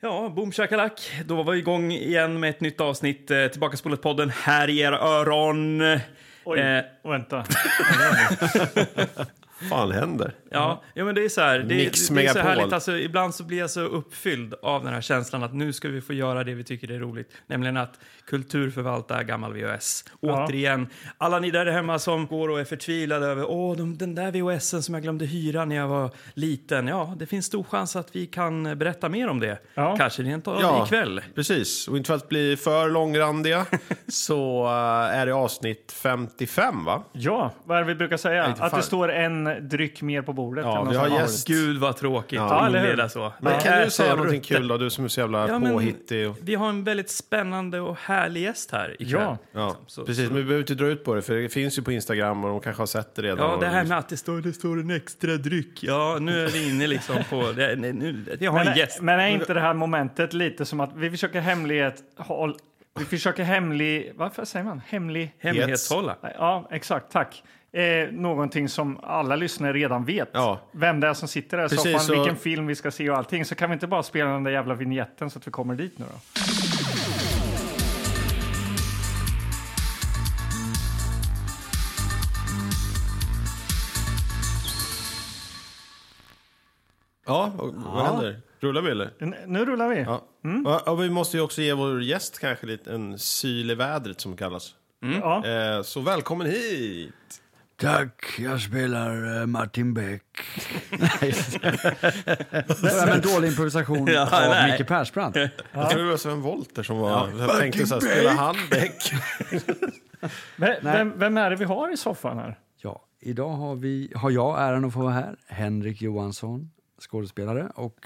Ja, boom shakalak. Då var vi igång igen med ett nytt avsnitt. Eh, tillbaka spolat podden här i era öron. Oj, Eh, vänta. fan händer? Mm. Ja, ja, men det är så här. Det, Mix det är så Megapol. härligt. Alltså, ibland så blir jag så uppfylld av den här känslan att nu ska vi få göra det vi tycker är roligt, nämligen att kulturförvalta gammal VHS. Ja. Återigen, alla ni där hemma som går och är förtvivlade över Åh, de, den där VHSen som jag glömde hyra när jag var liten. Ja, det finns stor chans att vi kan berätta mer om det. Ja. Kanske rent av Ja. ikväll. Precis, och inte för att bli för långrandiga så eh, är det avsnitt 55 va? Ja, vad är det vi brukar säga? inte Att det fan. står en dryck mer på bordet. Ja, än vi någon har annan. gäst. Gud vad tråkigt Ja, att eller hur? inleda så. Men kan Här du säga tar någonting Rutte. kul då, du som är så jävla Ja, men- påhittig? Och... Vi har en väldigt spännande och härlig gäst här ikväll. Liksom, Ja. Ja, så- precis. Men vi behöver inte dra ut på det, för det finns ju på Instagram och de kanske har sett det redan. Ja, och- det här med att det står, det står en extra dryck. Ja, nu är vi inne liksom på... Det, nej, nu, vi har en Men, gäst. men är inte det här momentet lite som att vi försöker hemlighet... Håll, vi försöker hemlig... Varför säger man hemlig? Hemlighetshålla. Ja, exakt. Tack. Eh, någonting som alla lyssnare redan vet. Ja. Vem det är som sitter där i Precis, soffan, så- vilken film vi ska se och allting. Så kan vi inte bara spela den där jävla vignetten så att vi kommer dit nu då? Ja, och, vad händer? Rullar vi eller? N- Nu rullar vi. Ja, Ja. Mm. Ja, och vi måste ju också ge vår gäst kanske lite en syl i vädret som kallas. Eh, så välkommen hit! Tack, jag spelar eh, Martin Beck. Nej, det var en dålig improvisation Ja, av nej. Micke Persbrandt. Jag tror det var Sven Wollter som var... jag Fucking tänkte så här, Beck! spelar han Beck? Vem, vem, vem är det vi har i soffan här? Ja, idag har, vi, har jag äran att få vara här. Henrik Johansson, skådespelare och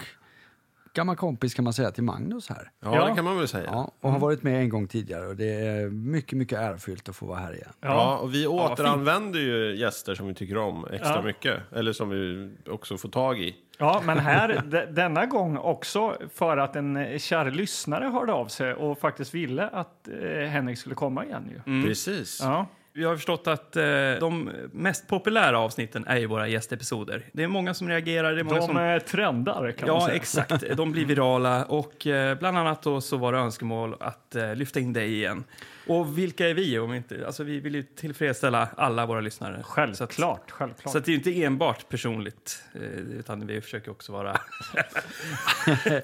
gammal kompis kan man säga till Magnus här. Ja, Ja. det kan man väl säga. Ja. Ja, och har varit med en gång tidigare och det är mycket, mycket ärofyllt att få vara här igen. och vi återanvänder ju gäster som vi tycker om extra Ja. mycket. Eller som vi också får tag i. Ja, men här de, denna gång också för att en eh, kär lyssnare hörde av sig och faktiskt ville att eh, Henrik skulle komma igen Mm. ju. Precis. Ja. Vi har förstått att eh, de mest populära avsnitten är ju våra gästepisoder. Det är många som reagerar. Det är många De som, som... trendar kan man ja, säga. exakt. De blir virala. Och eh, bland annat då så var det önskemål att eh, lyfta in dig igen. Och vilka är vi? om inte... Alltså, vi vill ju tillfredsställa alla våra lyssnare. Så att- Självklart, självklart. Så att det är ju inte enbart personligt, eh, utan vi försöker också vara...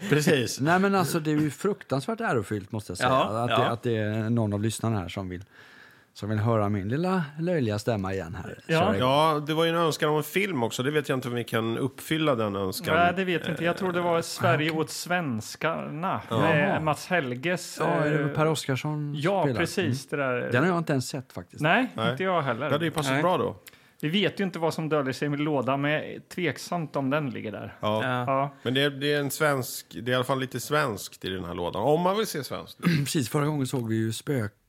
Precis. Nej men alltså det är ju fruktansvärt ärofyllt måste jag säga. Ja, att, ja. Det, att det är någon av lyssnarna här som vill, som vill höra min lilla löjliga stämma igen här. Ja. Köra igång. Ja, det var ju en önskan om en film också. Det vet jag inte om vi kan uppfylla den önskan. Nej, det vet jag inte. Jag tror det var Sverige åt svenskarna. Med Mats Helges. Ja, är det eh, Per Oscarsson ja spelar? precis. Det där. Den har jag inte ens sett faktiskt. Nej, Nej. inte jag heller. Det hade ju passat Nej. bra då. Vi vet ju inte vad som döljer sig i min låda, men jag är tveksamt om den ligger där. Ja. Ja. Ja. Men det är, det är en svensk, det är i alla fall lite svenskt i den här lådan. Om man vill se svenskt. Precis, förra gången såg vi ju Spökligan.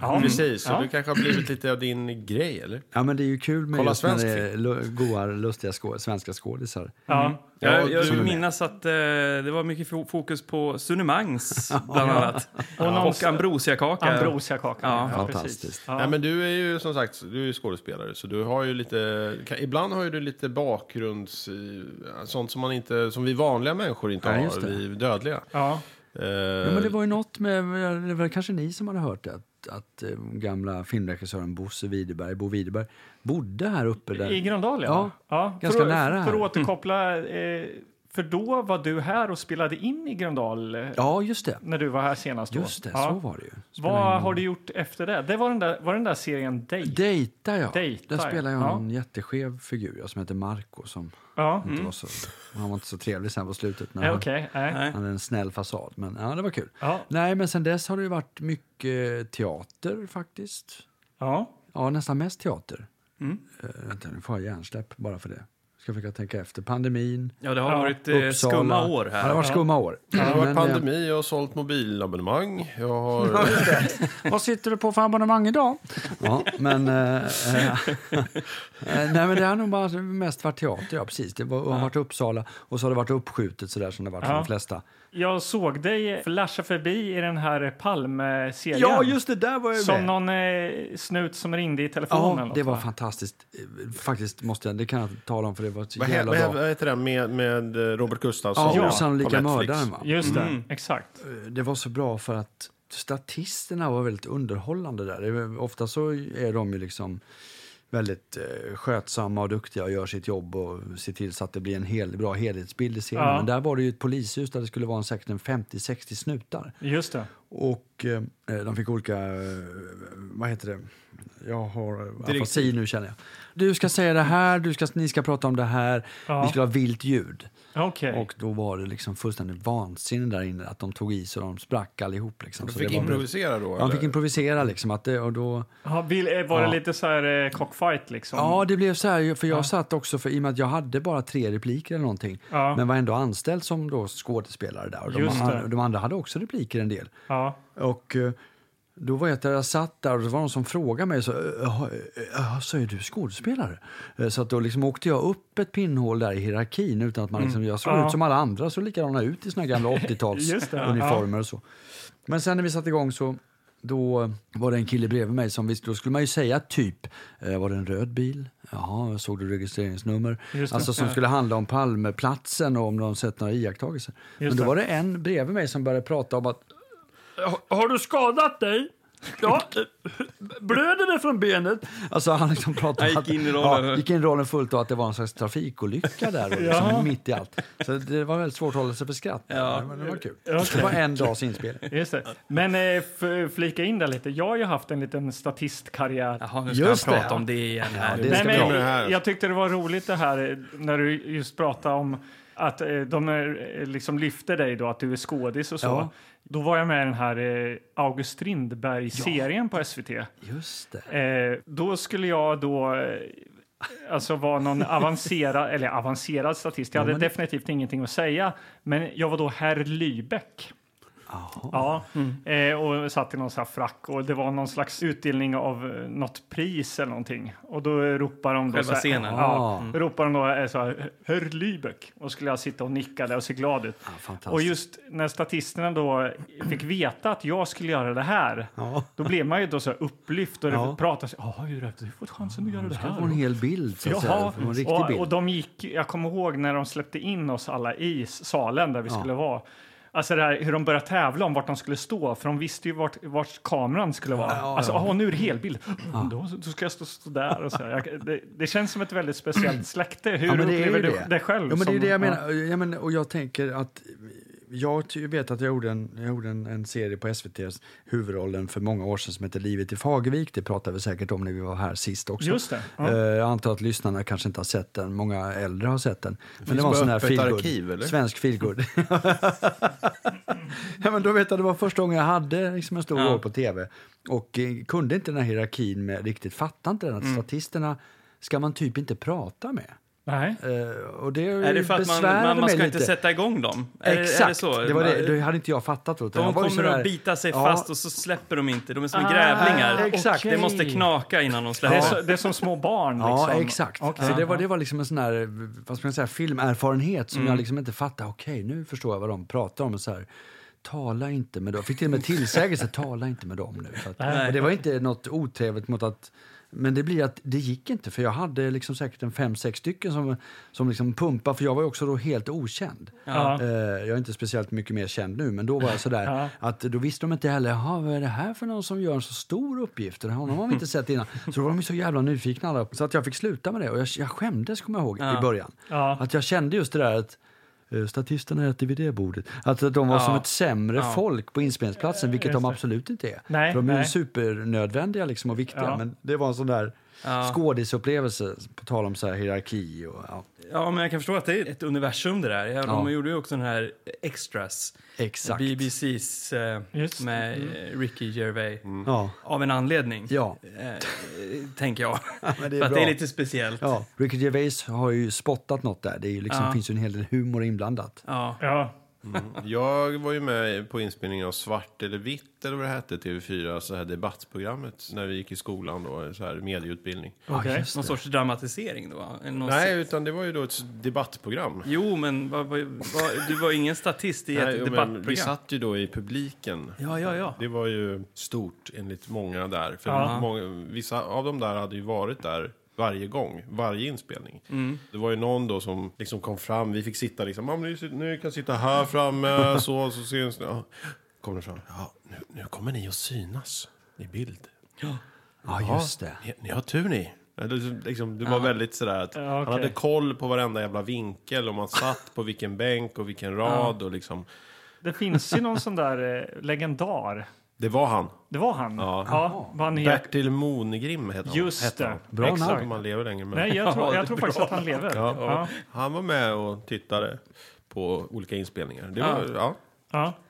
Ja, Ja. Precis, så Ja. det kanske har blivit lite av din grej eller? men det är ju kul med Kolla just när det svensk är lu- goa, lustiga skå- svenska skådisar. Ja. Jag, Ja, jag du- vill minnas att eh, det var mycket fo- fokus på Sunemangs, bland annat. Och någon- och Ambrosiakaka. Ambrosiakakan. Ja, fantastiskt. Ja. Nej men du är ju som sagt, du är ju skådespelare så du har ju lite, kan, ibland har ju du lite bakgrunds, eh, sånt som man inte, som vi vanliga människor inte Ja, har, just det. vi dödliga. Ja. Eh, Ja, men det var ju något med, det var kanske ni som hade hört det, att, att eh, gamla filmregissören Bosse Widerberg, Bo Widerberg, bodde här uppe. Där. I Gröndal, ja. Ja, ja. ganska för, att- nära För här. Mm. att återkoppla, eh, för då var du här och spelade in i Gröndal eh, Ja, just det. när du var här senast. då. Just det, ja. så var det ju. Spelade Vad in- har du gjort efter det? Det var den där, var den där serien Date. Dejtar jag. Dejtar, Där spelar jag ja. en jätteskev figur jag, som heter Marco som Ja, inte var så, han var inte så trevlig sen på slutet. När Eh, han, Mm. okej. nej. Nej. han hade en snäll fasad, men ja, det var kul. Ja. Nej, men sen dess har det ju varit mycket teater faktiskt. Ja. Ja, nästan mest teater. Eh, vänta, nu får jag hjärnsläpp bara för det. Ska försöka tänka efter. Pandemin, Ja, det har Ja. varit eh, Uppsala. skumma år Ja, det har här. varit skumma år. det har varit Men, pandemi, jag har sålt mobilabonnemang, jag har... eh, vad sitter du på för abonnemang idag? Ja, men... Eh, eh, eh, nej, men det har nog bara mest varit teater, ja precis. Det var, har varit Uppsala och så har det varit uppskjutet sådär som det har varit för Ja. de flesta. Jag såg dig flasha förbi i den här Palme-serien. Ja, just det, där var jag Som med. någon eh, snut som ringde i telefonen. Ja, eller det var något, va? fantastiskt. Eh, Faktiskt måste jag, det kan jag tala om för det var ett så Vad, he, jävla vad, he- bra. vad heter den med, med eh, Robert Gustafsson? Ja, på osannolika Netflix? mördaren va? Eh, Just det, exakt. Det var så bra för att statisterna var väldigt underhållande där. Det var- Ofta så är de ju liksom väldigt eh, skötsamma och duktiga och gör sitt jobb och ser till så att det blir en hel, bra helhetsbild i scenen. Ja. Men där var det ju ett polishus där det skulle vara en, säkert en 50-60 snutar. Just det. Och eh, de fick olika, eh, vad heter det, jag har afasi nu känner jag. Du ska säga det här, du ska, ni ska prata om det här, Ja. vi skulle ha vilt ljud. Okej. Och då var det liksom fullständigt vansinne där inne, att de tog i så de sprack allihop. Liksom. De Så fick det var- improvisera då? De eller? fick improvisera liksom. Att det, och då, Ja, vill- eh, var det Ja. lite så här eh, cockfight liksom? ja, det blev så här, för jag Ja. satt också, för i och med att jag hade bara tre repliker eller någonting, Ja. men var ändå anställd som då skådespelare där. Och de, Just det. an, de andra hade också repliker en del. ja. Och eh, då var jag där jag satt där och det var någon som frågade mig så, "Jaha, eh, jaha, så är du skådespelare? Eh, Så att då liksom åkte jag upp ett pinnhål där i hierarkin utan att man liksom, jag såg Mm. Ja. ut som alla andra, så likadana ut i såna gamla Just det, ja. 80-talsuniformer och så. Men sen när vi satte igång så då var det en kille bredvid mig som visste, då skulle man ju säga typ, eh, var det en röd bil? Jaha, såg du registreringsnummer? Just det. Alltså som skulle handla om Palmeplatsen och om de sett några iakttagelser. Men då det. var det en bredvid mig som började prata om att har du skadat dig? Ja, eh, blöder det från benet? Alltså han liksom pratade Jag gick att- in i rollen. Ja, gick in i rollen fullt och att det var en slags trafikolycka där och liksom, Ja. mitt i allt. Så det var väldigt svårt att hålla sig för skratt. Ja. Men det var kul. Det Okej. var en dags inspelning. Just det. Men eh, f- flika in där lite. Jag har ju haft en liten statistkarriär. Jaha, nu ska Just han det, prata ja. om det igen. Här. det Nej, ska men, vi ha. jag- jag tyckte det var roligt det här eh, när du just pratade om att eh, de eh, liksom lyfte dig då, att du är skådis och så. Ja. Då var jag med i den här eh, August Strindberg-serien på SVT. Just det. Eh, då skulle jag då eh, alltså vara någon avancerad, eller avancerad statist. Jag hade definitivt ingenting att säga. Men jag var då herr Lybeck. Ja, Mm. eh, och satt i någon sån här frack och det var någon slags utdelning av eh, något pris eller någonting. Och då ropar de då Själva så här, scenen. Ah. Ja, Mm. då ropar de då eh, så här, Herr Lübeck. Och skulle jag sitta och nicka där och se glad ut. Ah, Ja, fantastiskt. och just när statisterna då fick veta att jag skulle göra det här, Ja. då blev man ju då så här upplyft och Ja. det pratades, ja, hur har du fått chansen att göra det Det var en här? hel bild, så att säga. Jaha, Det var en riktig och, och bild. de gick, jag kommer ihåg när de släppte in oss alla i salen där vi Ja. skulle vara. Alltså det här, hur de började tävla om vart de skulle stå, för de visste ju vart, vart kameran skulle vara. ja, alltså, ja. "Åh, nu är det helbild. Då, då ska jag stå, stå där och så. här. Jag, det, det känns som ett väldigt speciellt släkte. Hur Ja, men det är ju upplever du det, det. själv? Ja, men det är ju som- det jag ja. menar. Ja, men, och jag tänker att jag ty- vet att jag gjorde, en, jag gjorde en, en serie på SVTs huvudrollen för många år sedan som heter Livet i Fagervik. Det pratade vi säkert om när vi var här sist också. Just det, ja. Eh, Jag antar att lyssnarna kanske inte har sett den. Många äldre har sett den. Men finns det var en på sån här öppet feelgood. arkiv, eller? Svensk feelgood. ja, men då vet jag, det var första gången jag hade liksom en stor Ja. roll på tv och eh, kunde inte den här hierarkin med, riktigt fattade inte den Mm. att statisterna ska man typ inte prata med. Nej. Eh, och det Är det för att man, besvärade man, man mig ska lite. inte sätta igång dem? Är, det- Exakt, är det, så? var det, det hade inte jag fattat. Utan De jag var ju kommer sådär- att bita sig Ja, fast och så släpper de inte. De är som grävlingar. exakt. Det måste knaka innan de Det, släpper. är så, det är som små barn. Ja, liksom. exakt. Okej. Så det, var, det var liksom en sån här, vad ska man säga, filmerfarenhet Mm. som jag liksom inte fattade. Okej, nu förstår jag vad de pratar om. Och så här, tala inte med dem. Fick till och med tillsägelse, tala inte med dem nu. Så att, och det var inte något otrevligt mot att men det blir att det gick inte, för jag hade liksom säkert en fem, sex stycken som, som liksom pumpade, för jag var ju också då helt okänd. Ja. Eh, jag är inte speciellt mycket mer känd nu, men då var jag sådär Ja. att då visste de inte heller, jaha, vad är det här för någon som gör en så stor uppgift? Den här- Honom har vi inte sett innan. Så då var de ju så jävla nyfikna alla, så att jag fick sluta med det. Och jag, jag skämdes, kommer jag ihåg, i början. Ja. Att jag kände just det där att eh, Statisterna äter vid det bordet. Att att de var Ja. som ett sämre folk på inspelningsplatsen, vilket de absolut inte är. Nej, de är ju nej. supernödvändiga liksom och viktiga, Ja. men det var en sån där Ja. skådisupplevelse, på tal om så här hierarki. Och, ja, Ja, men jag kan förstå att det är ett universum det där. Ja, De Ja. gjorde ju också den här Extras. exakt. BBCs eh, Just det. med eh, Ricky Gervais. Ja. Av en anledning, Mm. Ja. eh, tänker jag. men det är För att bra. det är lite speciellt. Ja. Ja, Ricky Gervais har ju spottat något där. Det är ju liksom, finns ju en hel del humor inblandat. Ja. Jag var ju med på inspelningen av Svart eller vitt, eller vad det hette, TV4, så här debattprogrammet, när vi gick i skolan då, så här medieutbildning. Okej. Ja, just Någon det. sorts dramatisering då? Någon Nej, sorts- utan det var ju då ett debattprogram. Jo, men vad- vad- vad- du var ingen statist i ett Nej, men vi debattprogram. satt ju då i publiken. Ja, ja, ja. Det var ju stort enligt många där. För Ja. många, vissa av dem där hade ju varit där varje gång, varje inspelning. Mm. Det var ju någon då som liksom kom fram, vi fick sitta liksom, "Ja, men ni, ni kan sitta här framme, så, så syns ni. Ja. Kommer de fram, ja, nu, nu kommer ni att synas i bild. Ja, just det. Ni, ni har tur ni. Eller liksom- Liksom, det var väldigt sådär att Ja, okej. han hade koll på varenda jävla vinkel och man satt på vilken bänk och vilken rad och liksom. Det finns ju någon sån där eh, legendar. Det var han. Det var han. Ja. vad han heter. Bertil Monegrim hette han. Just hette det. han. Bra Exakt. namn. Om han lever längre. Men... Nej, jag tror, Ja, det jag är tror faktiskt bra. att han lever. Ja. Ja. Ja. Han var med och tittade på olika inspelningar. Det var, ja.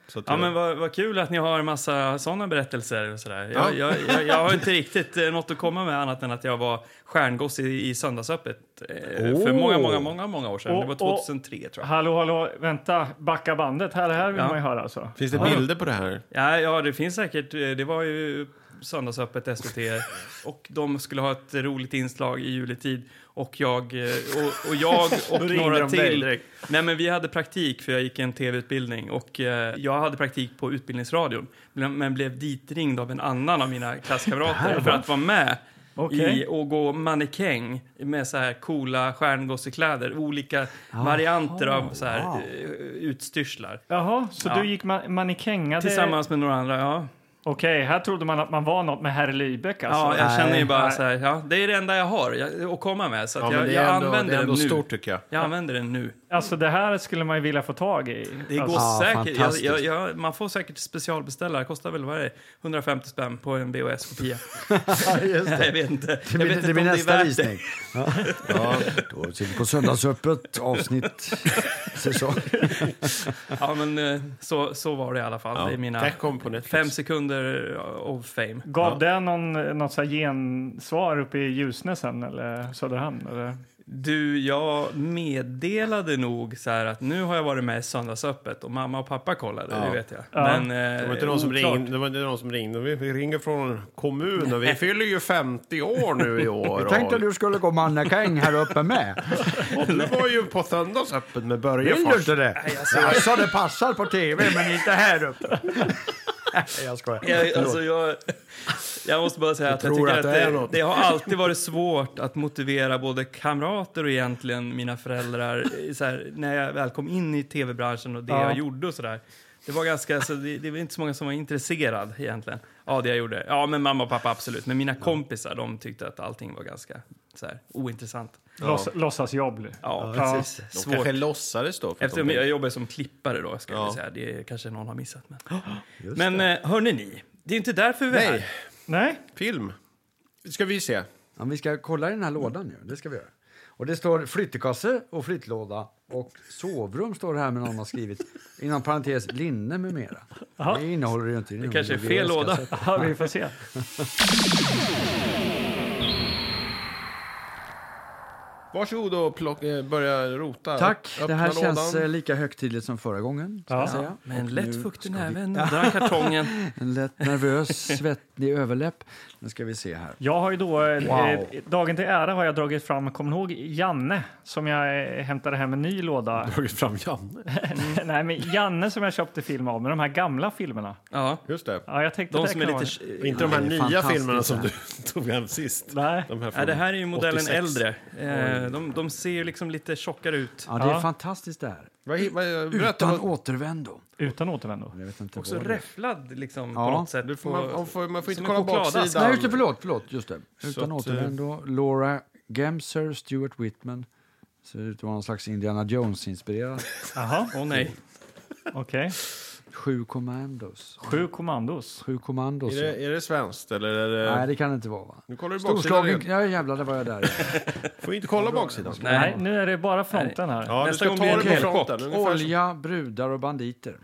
så att eh, Ja, det- men vad, vad kul att ni har en massa sådana berättelser och sådär. Ja. Jag, jag, jag, jag har inte riktigt eh, något att komma med annat än att jag var stjärngoss i, i Söndagsöppet eh, för många, många, många, många år sedan. Och- det var och- 2003 tror jag. Hallå, hallå, vänta. Backa bandet. Här, här vill Ja. man ju höra alltså. Finns det bilder på det här? Ja, ja, det finns säkert. eh, Det var ju Söndagsöppet, SVT och de skulle ha ett roligt inslag i juletid. Och jag eh, och, och, jag och ringde några de dig till. Nej, men vi hade praktik för jag gick en tv-utbildning och eh, jag hade praktik på Utbildningsradion men men blev ditringd av en annan av mina klasskamrater för att vara med Okej. i och gå mannekäng med så här coola stjärngossekläder, olika varianter av så här wow. eh, utstyrslar. Jaha, så Ja. du gick man, mannekängade? Tillsammans med några andra, ja. Okej, här trodde man att man var något med herr Lübeck alltså. Ja, jag känner ju bara Nej. så här, ja, det är det enda jag har jag, att komma med. Så att Ja, men jag, det jag är ändå, det använder är ändå den nu. stort tycker jag. Jag använder den nu. Alltså det här skulle man ju vilja få tag i. Det går alltså, Ja, säkert. Jag, fantastiskt. jag, jag, man får säkert specialbeställa. Det kostar väl vad är det 150 spänn på en VHS-kopia. jag vet inte. Det jag blir, vet det blir om nästa värt visning. Ja. Då ser vi på Söndagsöppet avsnitt säsong. Det. Ja, men eh, så, så var det i alla fall. Ja. Det är mina Det kom på Netflix. fem sekunder of fame. Gav det någon, något så här gensvar uppe i Ljusne sen eller Söderhamn? Eller? Du, jag meddelade nog så här att nu har jag varit med i Söndagsöppet och mamma och pappa kollade, Ja. det vet jag. Ja. Men, Det eh, var, inte någon som oklart. ringde, det var inte någon som ringde. Vi vi ringer från kommunen. Vi fyller ju 50 år nu i år. Jag tänkte och- att du skulle gå mannekäng här uppe med. och du var ju på söndagsöppet med Börje Vill du först. inte det? Jag sa det passar på tv, men inte här uppe. Nej, Jag skojar. Jag, alltså jag, jag måste bara säga att jag tror tycker att att det är det, något. det har alltid varit svårt att motivera både kamrater och egentligen mina föräldrar eh, så här, när jag väl kom in i tv-branschen och det Ja. jag gjorde och sådär. Det var ganska, så det, det var inte så många som var intresserad egentligen av det jag gjorde. Ja, men mamma och pappa absolut. Men mina kompisar, de tyckte att allting var ganska så här, ointressant. Låts, låtsasjobb. Ja, Ja. precis. De Svårt. kanske låtsades då. för att de Eftersom tänkte- jag jobbar som klippare då, ska Ja. jag säga. Det kanske någon har missat. Men, men eh, hörni ni, det är inte därför vi är här. Nej, Nej, film. Ska vi se. Ja, vi ska kolla i den här lådan nu. Det ska vi göra. Och det står flyttekasse och flyttlåda och sovrum står det här med någon har skrivit. Inom parentes linne med mera. Det innehåller det ju inte. Det kanske är fel låda. ja, vi får se. Varsågod och plock, eh, börja rota. Tack. Öppna det här lådan. känns eh, läika högtidligt som förra gången. Ska Ja. jag säga. Med en Och lätt nu fuktig ska vi- näve, nuddar kartongen. En lätt nervös, svettig överläpp. Nu ska vi se här. Jag har ju då, eh, Wow. eh, dagen till ära har jag dragit fram, kommer ni ihåg Janne som jag eh, hämtade hem en ny låda? Tagit fram eh, Janne. Nej, men Janne som jag köpte film av med de här gamla filmerna. Ja, Just det. Ja, jag tänkte de det som är kan vara- lite... Inte de här det är nya fantastiskt filmerna som du tog hem sist. Nej. De här Ja, det från här är ju modellen 86. äldre. Eh, de, de ser ju liksom lite tjockare ut. Ja, det är Ja. fantastiskt det här. Vad, hi- vad, berätta, Utan vad, återvändo. Utan återvändo. Jag vet inte Också vad det är. räfflad liksom Ja, på något sätt. du får, på- man, man får, man får inte som kolla en chokladask. baksidan. Nej, just det, förlåt, förlåt. Just det. Så Utan att, eh, återvändo, Laura Gemser, Stuart Whitman. Ser ut att vara någon slags Indiana Jones-inspirerad. Jaha, Åh nej. okej. Sju commandos. Sju kommandos. Sju commandos. Är det, är det svenskt eller? Är det, Nej, det kan det inte vara. Va? Nu kollar du baksidan Storslagen... igen. Ja, jävlar, det var jag där. Får inte kolla baksidan. Nej. nej. nu är det bara fronten här. Ja, du Nästa ska gång ta blir det det en på helchock. fronten. Ungefär som- Olja, brudar och banditer.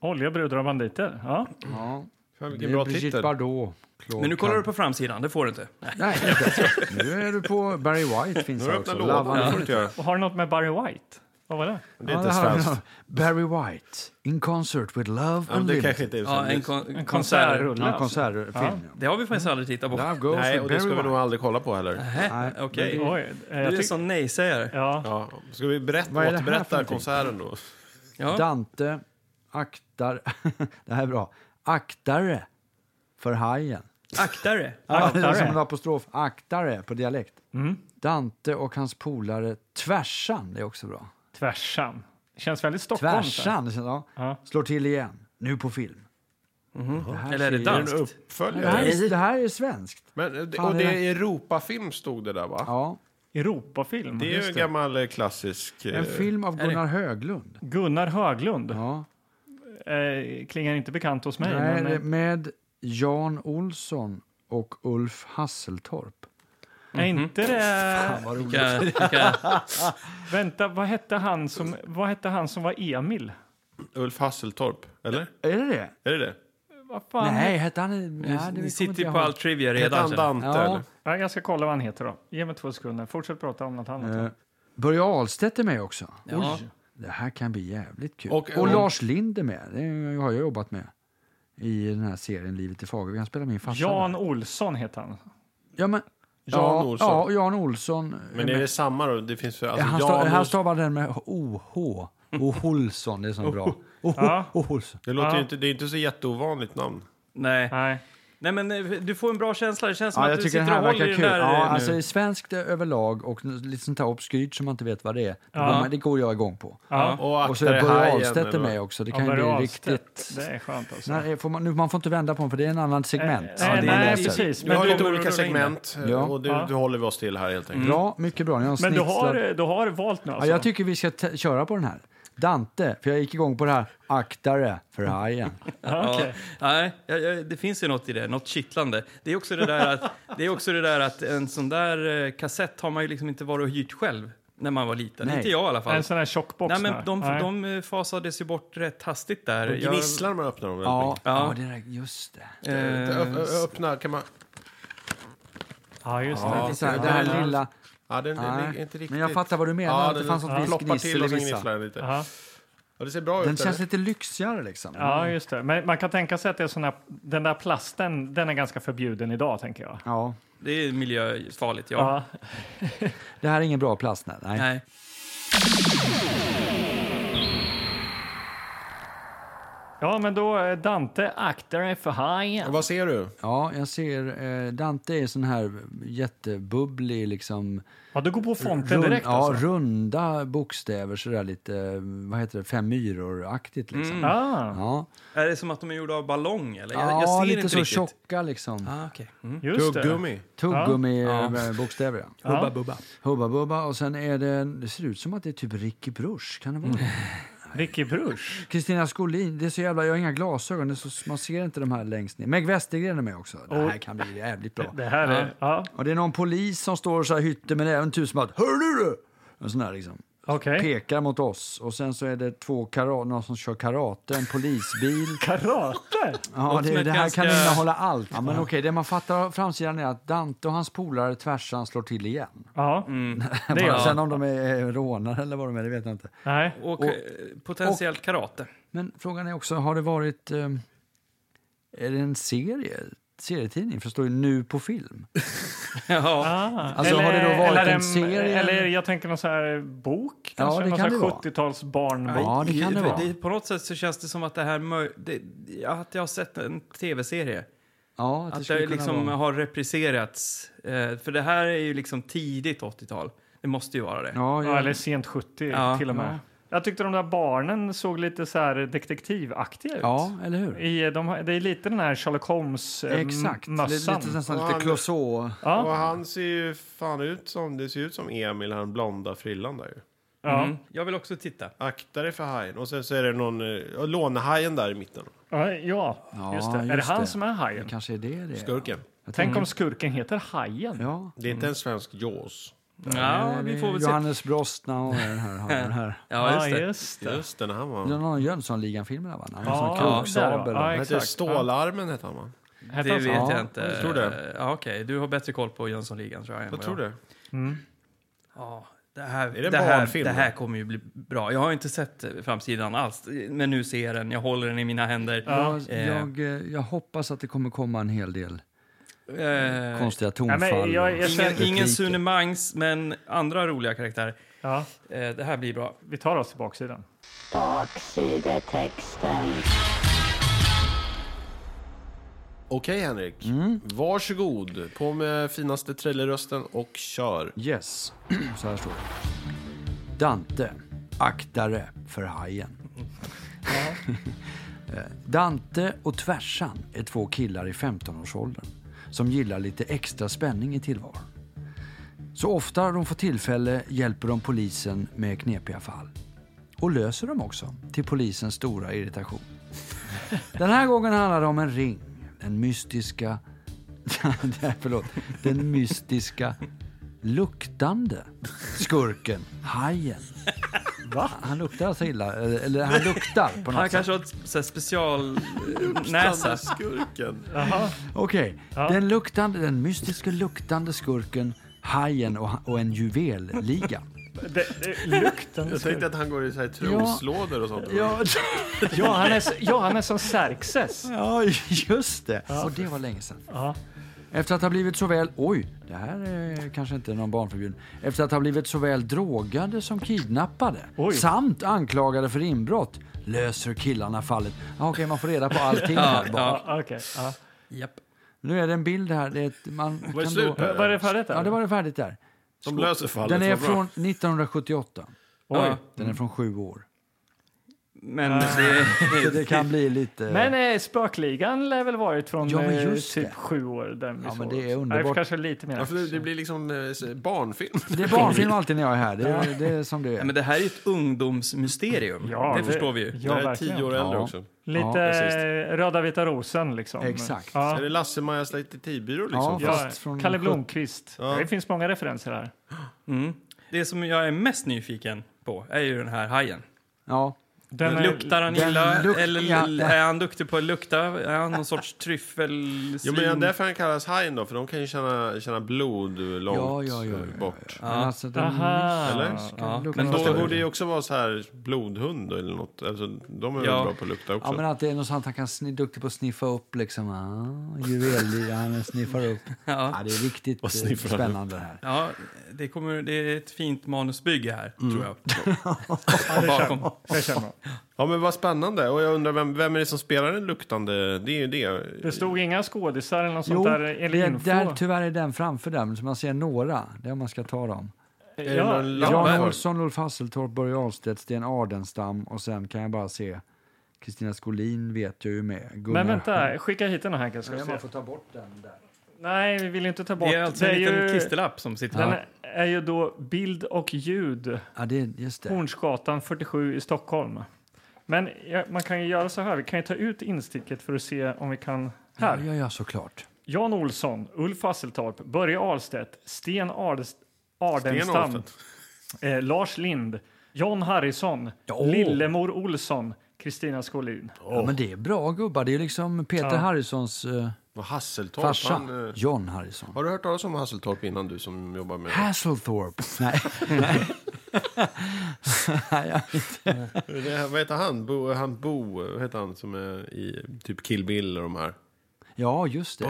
Olja, brudar och banditer. Ja. Ja, Fan, det Vilken bra är Brigitte titel. Bardot. Claude Men nu kollar du Cam- på framsidan, det får du inte. Nej. Nej, inte. nu är du på Barry White finns Nu har här du öppnat också. lådan. Love Det får du and- inte göra. Och har du något med Barry White? Vad var det? Det är inte Ja, det har vi. svenskt. Barry White, in concert with love Ja, men det unlimited. kanske inte är Ja, en, svenskt. kon en konsert. konsertrulle. Ja, en alltså. konsertfilm. Ja. Det har vi faktiskt aldrig tittat på. Love goes Nej, with och det Barry ska vi nog White. aldrig kolla på heller. Nähä, Nej, okej. Oj, eh, Du jag är en tyck- sån nej-sägare. ja. Ja. Ska vi berätta, Vad är det här för återberätta någonting? konserten då? Ja. Dante aktar... det här är bra. Aktare för hajen. Aktare. Ja, det är Aktare. som en apostrof. Aktare på dialekt. Dante och hans polare Tvärsan är också bra. Tvärsan. Känns väldigt Stockholm. Tvärsan, det känns- ja. Ja. slår till igen. Nu på film. här Eller är det ser- En danskt? Det uppföljare. här, det här är svenskt. Men, eh, Fan, och det det är Europafilm stod det där va? Ja. Europafilm. det är ju en gammal eh, klassisk... eh, En film av det- Gunnar Höglund. Gunnar Höglund. Ja. Eh, klingar inte bekant hos mig. Nej, men, det är eh, med Jan Olsson och Ulf Hasseltorp. Är inte det... Mhm. Vad roligt. Vilka, vilka, Vänta, vad hette, han som, vad hette han som var Emil? Ulf Hasseltorp, eller? Är det det? Är det det? Vad fan? Nej, hette han... Nej, det kommer ni inte sitter ju jag på ihåg. all trivia Hette redan. han känner jag. Dante Ja. eller? Ja, jag ska kolla vad han heter då. Ge mig två sekunder. Fortsätt prata om något annat. Eh, Börje Ahlstedt är med också. Ja. Oj, det här kan bli jävligt kul. Och- Och, Lars Lind är med. Det har jag jobbat med i den här serien Livet i Fagervik. Han spelar min farsa. Jan där. Olsson heter han. ja, men, Jan ja, Olsson. Ja, Jan Olsson. Eh, Men är det samma då? Det finns för, alltså, Mm. han, Jan stav, han Olsson- stavar den med OH. Och Olsson, det är så bra. Ja. Och Olsson. det, låter Ja. ju inte, det är inte så jätteovanligt namn. Nej. Nej. Nej, men eh, du får en bra känsla. Det känns som Ja, att jag du tycker sitter det och håller här verkar i den kul. där ja, eh, alltså, svenskt överlag och n- lite sånt här obskyrt som man inte vet vad det är. Ja. Men Det går jag igång på. Ja. Och, Och så är Börje Hajen, Ahlstedt är eller vad? med också. Det Ja, kan ju Börje bli Ahlstedt. riktigt... Det är skönt alltså. Nej, får man, nu, man får inte vända på den för det är en annan segment. Nej, Ja, det är Eh, nej, läser. precis. Vi Men har du- lite olika du- segment Ja. och det, Ja. det håller vi oss till här helt enkelt. Mm. Bra, mycket bra. Ni har en Men du har, snitslad- du har valt nu ja, alltså? jag tycker vi ska t- köra på den här. Dante, för jag gick igång på det här. Aktare för hajen. Mm. Ja, okej. Nej, jag, jag, det finns ju något i det, något kittlande. Det är också det där att, det är också det där att en sån där eh, kassett har man ju liksom inte varit och hyrt själv när man var liten. Nej. Inte jag i alla fall. En sån här tjockbox? Nej, men nu. de, Nej. de eh, fasades ju bort rätt hastigt där. De Jag- Mm. gnisslar när man öppnar dem. väldigt Mm. Ja, mycket. Ja. ja. det där, just det. eh, Ö- ö- Öppna, kan man... Ja, just det, det. är så här, det här lilla... Ja, den, den Nej, är inte riktigt... Men jag fattar vad du menar. Ja, att det fanns något visst ploppar gnissel till i och sen vissa. gnisslar den lite. Ja. Ja, det ser bra Den ut. känns eller? lite lyxigare liksom. ja, just det. Men man kan tänka sig att det är sån här, den där plasten, den är ganska förbjuden idag, tänker jag. Ja. det är miljöfarligt, ja. Ja. Det här är ingen bra plast. Nej. nej. Nej. Ja, men då eh, Dante, akta dig för hajen. Vad ser du? Ja, jag ser. Eh, Dante är sån här jättebubblig liksom... Ja, du går på fonten Rund- direkt alltså? ja, runda bokstäver, sådär lite, eh, vad heter det, fem myror-aktigt liksom. Ah, Ja, Är det som att de är gjorda av ballong? Eller? Mm. Jag, ja jag ser lite inte så riktigt. tjocka liksom. Ah, okay. mm. just det. Tuggummi. Tuggummi-bokstäver, ja. Hubba Ja. bubba. Hubba Bubba och sen är det, det ser ut som att det är typ Ricky Bruch, kan det vara Mm. det? Ricky Bruch. Kristina Skolin, det är så jävla, jag har inga glasögon, det är så, man ser inte de här längst ner. Meg Westergren är med också. Det här kan bli jävligt bra. Det här är... Ja, Och det är någon polis som står och så här hytter med även tusen att Hör du det?" En sån här liksom. okej. pekar mot oss och sen så är det två kara- någon som kör karate, en polisbil. Karate! Ja, Låter som det, ett det här ganska- kan innehålla allt. Ja, men okej, det man fattar av framsidan är att Dante och hans polare tvärsan slår till igen. Ja, Mm. det är Bara jag. Sen om de är eh, rånare eller vad de är, det vet jag inte. Nej. Och, eh, potentiellt karate. Men frågan är också, har det varit... Eh, är det en serie? serietidning, för det står ju nu på film. ja. Ah. Alltså, har det då varit en serie? Eller jag tänker någon sån här bok, Ja, kanske? det någon kan sån det här vara. 70-tals barnbok. Ja, det kan det vara. På något sätt så känns det som att det här... mö- Det, ja, att jag har sett en tv-serie. Ja, att det Att skulle det kunna liksom vara... har repriserats. Eh, för det här är ju liksom tidigt 80-tal. Det måste ju vara det. Ja, Ja, ja. eller sent 70 Ja, till och med. ja. Jag tyckte de där barnen såg lite så här detektivaktiga ut. ja, eller hur? I, de, har- det är lite den här Sherlock Eh, Exakt. Lite, Holmes-mössan. lite, nästan Ja, lite det- Clouseau. Ja, Och han ser ju fan ut som... Det ser ut som Emil, han blonda frillan där ju. ja, Mm. Jag vill också titta. Akta dig för hajen. Och sen så är det någon... eh, ja, Lånehajen där i mitten. ja, ja, Ja, just det. är det just han det. Mm. som är hajen? Kanske är det det. Skurken. Tänk om skurken heter Hajen. Ja. Det är inte en svensk Jaws. Ja, vi får väl se. Eh, Johannes Brostna och den här. har den här. Ja, just det. just det. Just det, den här Det var var... någon Jönssonligan-film där va? Han Ja, ja, ja, krogsabel. där var- Ja, ja, Han heter Exakt, Stålarmen, hette han va? Hette Det han vet så? Ja, jag inte. jag tror det. Ja, Okej, du har bättre koll på Jönssonligan tror jag. än Jag vad tror det. Ja, det här, det en det, här, barnfilm, det här då? kommer ju bli bra. Jag har inte sett eh, framsidan alls, men nu ser jag den. Jag håller den i mina händer. jag, Eh, jag, eh, jag hoppas att det kommer komma en hel del eh, konstiga Ja, tonfall. men jag, jag, och- ingen, känner- ingen Sune Mangs, men andra roliga karaktärer. ja, Eh, det här blir bra. vi tar oss till baksidan. Baksidetexten. Okej Henrik, Mm. varsågod. På med finaste trailerrösten och kör. Yes, så här står det. Dante, aktare för hajen. Eh, Dante och Tvärsan är två killar i 15-årsåldern som gillar lite extra spänning i tillvaron. Så ofta de får tillfälle hjälper de polisen med knepiga fall. Och löser dem också, till polisens stora irritation. Den här gången handlar det om en ring. Den mystiska... Nej, Förlåt. Den mystiska luktande skurken, hajen. Va? Han luktar alltså illa, eller eller han luktar på något Han sätt. kanske har ett så här special eh, näsa. Skurken. Okej. Den luktande, den mystiska luktande skurken, hajen och, och en juvelliga. Det, det, lukten. Jag tänkte att han går i så här troslådor och sånt. Ja, Ja, han är, s- ja, han är som Xerxes. ja, just det. Och det var länge sedan. Ja. Efter att ha blivit såväl, oj, det här är kanske inte någon barnförbjuden. Efter att ha blivit såväl drogade som kidnappade Oj. samt anklagade för inbrott löser killarna fallet. Ah, Okej, man får reda på allting här bara. Ja, Ja, okej. Ja. japp. Nu är det en bild här. Det är ett, man Var det kan slut då, där? Vad är det för rätt ja, det var det färdigt där. De löser fallet. Den är vad bra. från 1978. Ja, Den är från sju år. men det, Så det kan bli lite... Men eh, Spökligan lär väl varit från Ja, men eh, just typ det. sju år. Den vi Ja, såg. men det är underbart. Nej, kanske lite mer. Ja, för det, det blir liksom eh, s- barnfilm. Det är barnfilm alltid när jag är här. Det är, det är som det Ja, är. men det här är ju ett ungdomsmysterium. Ja, det, förstår vi ju. Ja, det här är verkligen. tio år äldre Ja. också. Lite Ja, precis. eh, Röda Vita Rosen liksom. Exakt. Ja. Är det Lasse-Majas detektivbyrå liksom? Ja, Ja, Fast från Kalle sjut- Blomkvist. Det finns många referenser här. Mm. Det som jag är mest nyfiken på är ju den här hajen. Ja. Den är- Luktar han Den illa? luk- eller ja, ja. är han duktig på att lukta? Är han någon sorts tryffelsvin? Jo, men det är därför han kallas hajen då, för de kan ju känna, känna blod långt Ja, ja, ja, ja, eh, bort. Men alltså, den Aha. Eller? Ja, luktar men Fast då det borde ju också vara så här blodhund då, eller något. Alltså, de är Ja. väl bra på att lukta också. Ja, men att det är något sånt han kan sni, duktig på att sniffa upp liksom. Ah, juvel, han sniffar upp. Ja. det är riktigt eh, sniffar han spännande det här. Ja, det, kommer, det är ett fint manusbygge här, tror jag. Ja, det Bakom. känner- Det känner man. Ja men vad spännande. Och jag undrar vem, vem är det som spelar den luktande? Det är ju det. Det stod inga skådisar eller något Jo, sånt där. Eller det är, info. där, typ- tyvärr är den framför där, men så man ser några. Det är om man ska ta dem. Är det ja, någon Jan lampa? Olsson, Ulf Hasseltorp, Börje Ahlstedt, Sten Ardenstam och sen kan jag bara se Kristina Skolin vet jag ju med. Gunnar- men vänta, skicka hit den här ska Ja, jag man se. får ta bort den där. Nej, vi vill inte ta bort. Det är alltså en liten klisterlapp som sitter Den där. är ju då bild och ljud, Ja, det, just det. Hornsgatan 47 i Stockholm. Men ja, man kan ju göra så här, vi kan ju ta ut insticket för att se om vi kan... Ja, Här. ja, ja, såklart. Jan Olsson, Ulf Hasseltorp, Börje Ahlstedt, Sten Ardes- Ardenstam, Stenolfen. eh, Lars Lind, John Harrison, Ja. Lillemor Olsson, Kristina Skolin. Ja, men det är bra gubbar. Det är ju liksom Peter Ja. Harrisons eh, Och Hasseltorp. farsa, Han, eh, John Harrison. har du hört talas om Hasseltorp innan du som jobbar med Hasselthorpe. Nej. Nej, jag vet inte. det? här- Vad heter han? Bo, han Bo, vad heter han som är i typ Kill Bill och de här? ja, just det.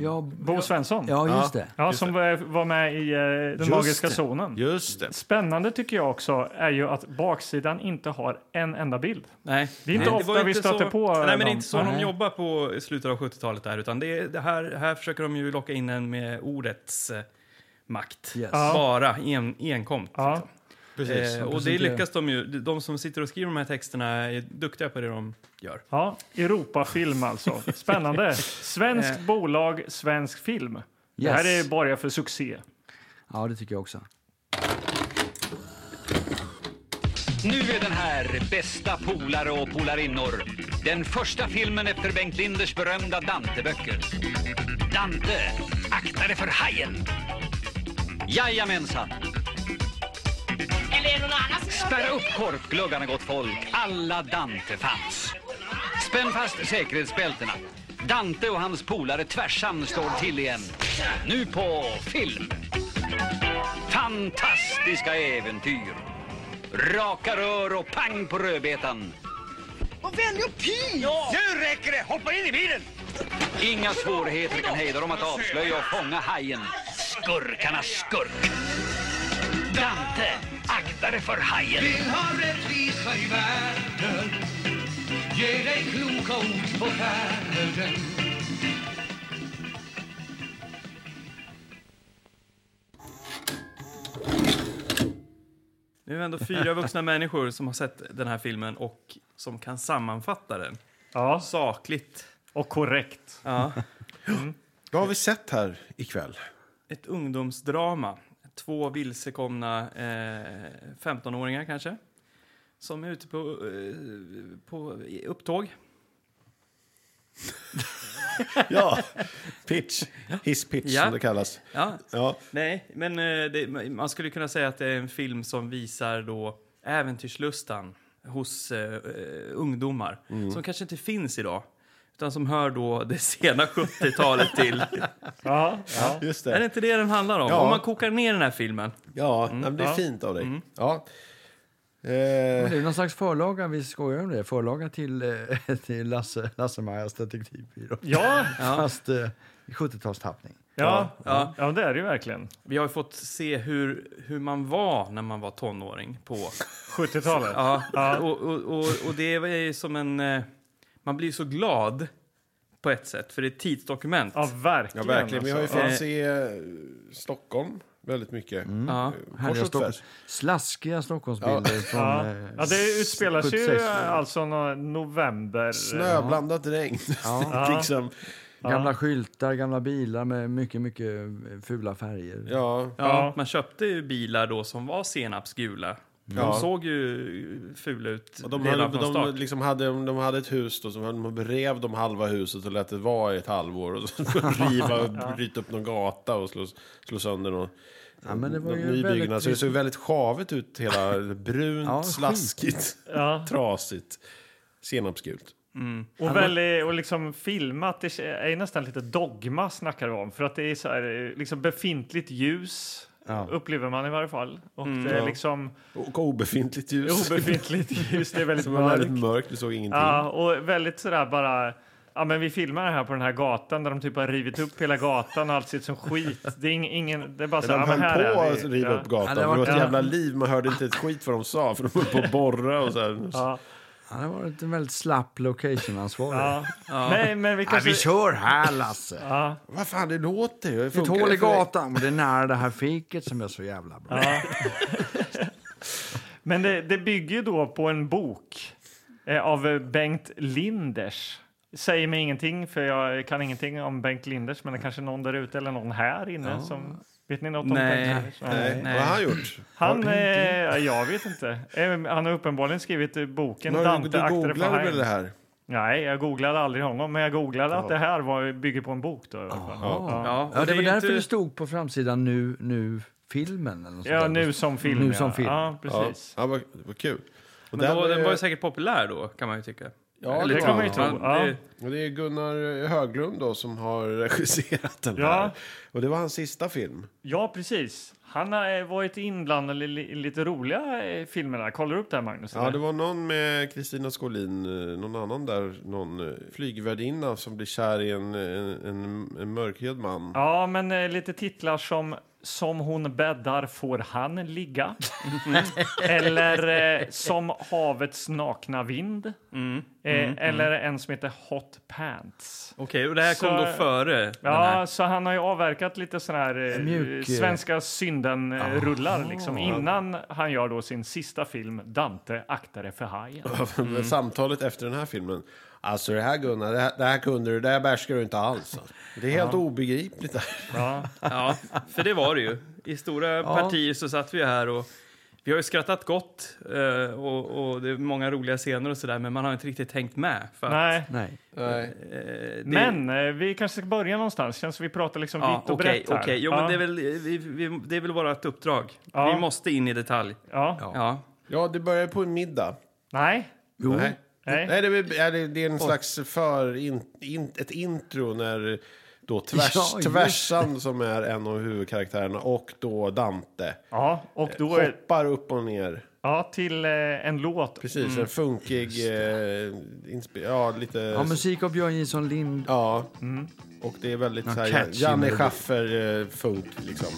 Ja, Bo Svensson. ja, just det. Ja, som var- var med i eh, Den magiska det. zonen. Just det. Spännande tycker jag också är ju att baksidan inte har en enda bild. Nej. Det är inte Nej, ofta var vi stöter så, på Nej, men det dem. är inte så de Nej. jobbar på i slutet av 70-talet där, utan det är, det här, här försöker de ju locka in en med ordets eh, makt. Yes. Ja. Bara en, enkomt. Ja. Precis. Eh, och det precis. lyckas de ju. De som sitter och skriver de här texterna är duktiga på det de gör. Ja, Europafilm alltså. Spännande. Svenskt bolag, svensk film. Det här Yes. är bara för succé. Ja, det tycker jag också. Nu är den här, bästa polare och polarinnor. Den första filmen efter Bengt Linders berömda Dante-böcker. Dante, akta dig för hajen! Jajamensan! Eller är det någon annan som Spärra upp korpgluggarna gott folk. Alla Dante fanns. Spänn fast säkerhetsbältena. Dante och hans polare Tvärsan står till igen. Nu på film. Fantastiska äventyr. Raka rör och pang på rödbetan. Och vänlig och pig! Ja. Nu räcker det! Hoppa in i bilen! Inga svårigheter kan hejda dem att avslöja och fånga hajen. Skurkarnas skurk. Dante, akta dig för hajen. Vill ha rättvisa i världen Ge dig kloka ord på färden ju ändå fyra vuxna människor som har sett den här filmen och som kan sammanfatta den Ja, sakligt. och korrekt. Ja. Vad har vi sett här ikväll? Ett ungdomsdrama. Två vilsekomna eh, 15-åringar kanske som är ute på, eh, på i upptåg. Ja, pitch. Hisspitch Ja. som det kallas. Ja, Ja. Nej, men eh, det, man skulle kunna säga att det är en film som visar då äventyrslustan hos eh, eh, ungdomar Mm. som kanske inte finns idag utan som hör då det sena 70-talet till. Ja, ja. Just Är det det. inte det den handlar om? Ja. Om man kokar ner den här filmen. Ja, Mm. nej, men det är fint av dig. Ja. Eh, Det är någon slags förlaga, vi skojar om det, förlaga till, eh, till Lasse, Lasse-Majas detektivbyrå. Ja, Fast eh, i 70-talstappning. ja, Ja. ja. det är det ju verkligen. Vi har ju fått se hur, hur man var när man var tonåring. på... 70-talet. Ja. Och, och, och, och det är ju som en... eh, Man blir ju så glad på ett sätt, för det är ett tidsdokument. Ja, verkligen. ja, verkligen. Vi har ju alltså. fått se eh, Stockholm väldigt mycket. Ja. Härliga Kors och Stockholms, tvärs. slaskiga Stockholmsbilder från... Ja. eh, Ja, det utspelar sig ju 76. alltså nå- november. Snöblandat regn. liksom. Gamla skyltar, gamla bilar med mycket, mycket eh, fula färger. Ja, Ja, Ja. man köpte ju bilar då som var senapsgula. De Ja. såg ju fula ut Och De, redan höll, från start. de, liksom hade, de hade ett hus då, som de rev de halva huset och lät det vara i ett halvår. Och så riva, och bryta upp någon gata och slå, slå sönder någon, Ja, men det var någon ju ny väldigt- byggnad. Så det såg väldigt sjavigt ut, hela brunt, Ja, sjukt. slaskigt, Ja. trasigt, senapsgult. Och, väldigt, och liksom filmat, det är ju nästan lite dogma snackar vi om. För att det är så här, liksom befintligt ljus, upplever man i varje fall. Och det är liksom Och obefintligt ljus. obefintligt ljus, det är väldigt Det var väldigt mörkt. mörkt, vi såg ingenting. Ja, och väldigt sådär bara, ja men vi filmar det här på den här gatan där de typ har rivit upp hela gatan och allt sitt som skit. Det är ing- ingen, det är bara så Men här, de ja, men här höll på är att vi. riva upp Ja, gatan. det Det var ett var- jävla liv. Man hörde inte ett skit vad de sa. För de höll på att borra och så här. Ja, Ja, det var ett väldigt slapp location-ansvarig. ja. Nej, men vi Ja, kanske... vi kör här, Lasse! Ja, Vad fan, det låter ju. Det Ett funkar hål i ju för- gatan, och det är nära det här fiket som är så jävla bra. ja. Men det, det bygger ju då på en bok eh, av eh, Bengt Linders. Säger mig ingenting, för jag kan ingenting om Bengt Linders men det kanske är någon där ute eller någon här inne som... Vet ni något om Nej. Bengt Linders? Nej. Nej. Vad har han gjort? Han, eh, jag vet inte. Eh, Han har uppenbarligen skrivit eh, boken Men Dante, du, du aktade för googlade Haydn. väl det här? Nej, jag googlade aldrig honom, men jag googlade att det här var, bygger på en bok. Då, i alla fall. Ja, och Ja, det var är ju därför inte- det stod på framsidan nu, nu filmen. Eller något sånt Ja, där. nu som film. Nu ja. som film. Ja, precis. Ja, vad, vad kul. Och Men då, där den var ju ju- säkert populär då, kan man ju tycka. Ja, Eller det det, kan man var- ju tro. man- Ja. det- och det är Gunnar Höglund då som har regisserat den Ja. här. Och det var hans sista film. Ja, precis. Han har eh, varit inblandad i li- i lite roliga eh, filmer. där. Kollar du upp det här, Magnus? Ja, eller? det var någon med Kristina Skolin, eh, någon annan där, någon eh, flygvärdinna som blir kär i en, en, en, en mörkhyad man. ja men eh, lite titlar som Som hon bäddar får han ligga. eller eh, Som havets nakna vind. eh, eller en som heter Hot Pants. Okej, och det här kom Så- då före den Ja, här? så han har ju avverkat lite sådana här eh, Mjuk, eh, svenska synden-rullar liksom, innan han gör då sin sista film Dante, akta dig för hajen. Mm. Men Samtalet efter den här filmen. Alltså det här Gunnar, det här, det här kunde du, det här behärskar du inte alls. alltså. Det är helt obegripligt. det här. Ja, Ja, för det var det ju. I stora partier så satt vi ju här och vi har ju skrattat gott eh, och, och det är många roliga scener och sådär men man har inte riktigt tänkt med. För att, nej. Nej. eh, det- Men eh, vi kanske ska börja någonstans, känns som vi pratar liksom Ja, vitt och okej, brett här. okej. Jo, men ja, det är väl, vi, vi, det är väl vårt uppdrag. Ja. Vi måste in i detalj. ja. Ja. Ja. Ja, det börjar på en middag. Nej, Jo, Nej. Nej. Nej, det är- ja, det, det är en slags för in, in, ett intro när då tvärs, Ja, just Tvärsan som är en av huvudkaraktärerna och då Dante ja, och då är, hoppar upp och ner. ja, till eh, en låt. Precis, en funkig, eh, inspi- ja lite... Mm. ja, musik av Björn Jonsson Lind. ja. Och det är väldigt så här, catchy Janne melodi. Schaffer-funk liksom.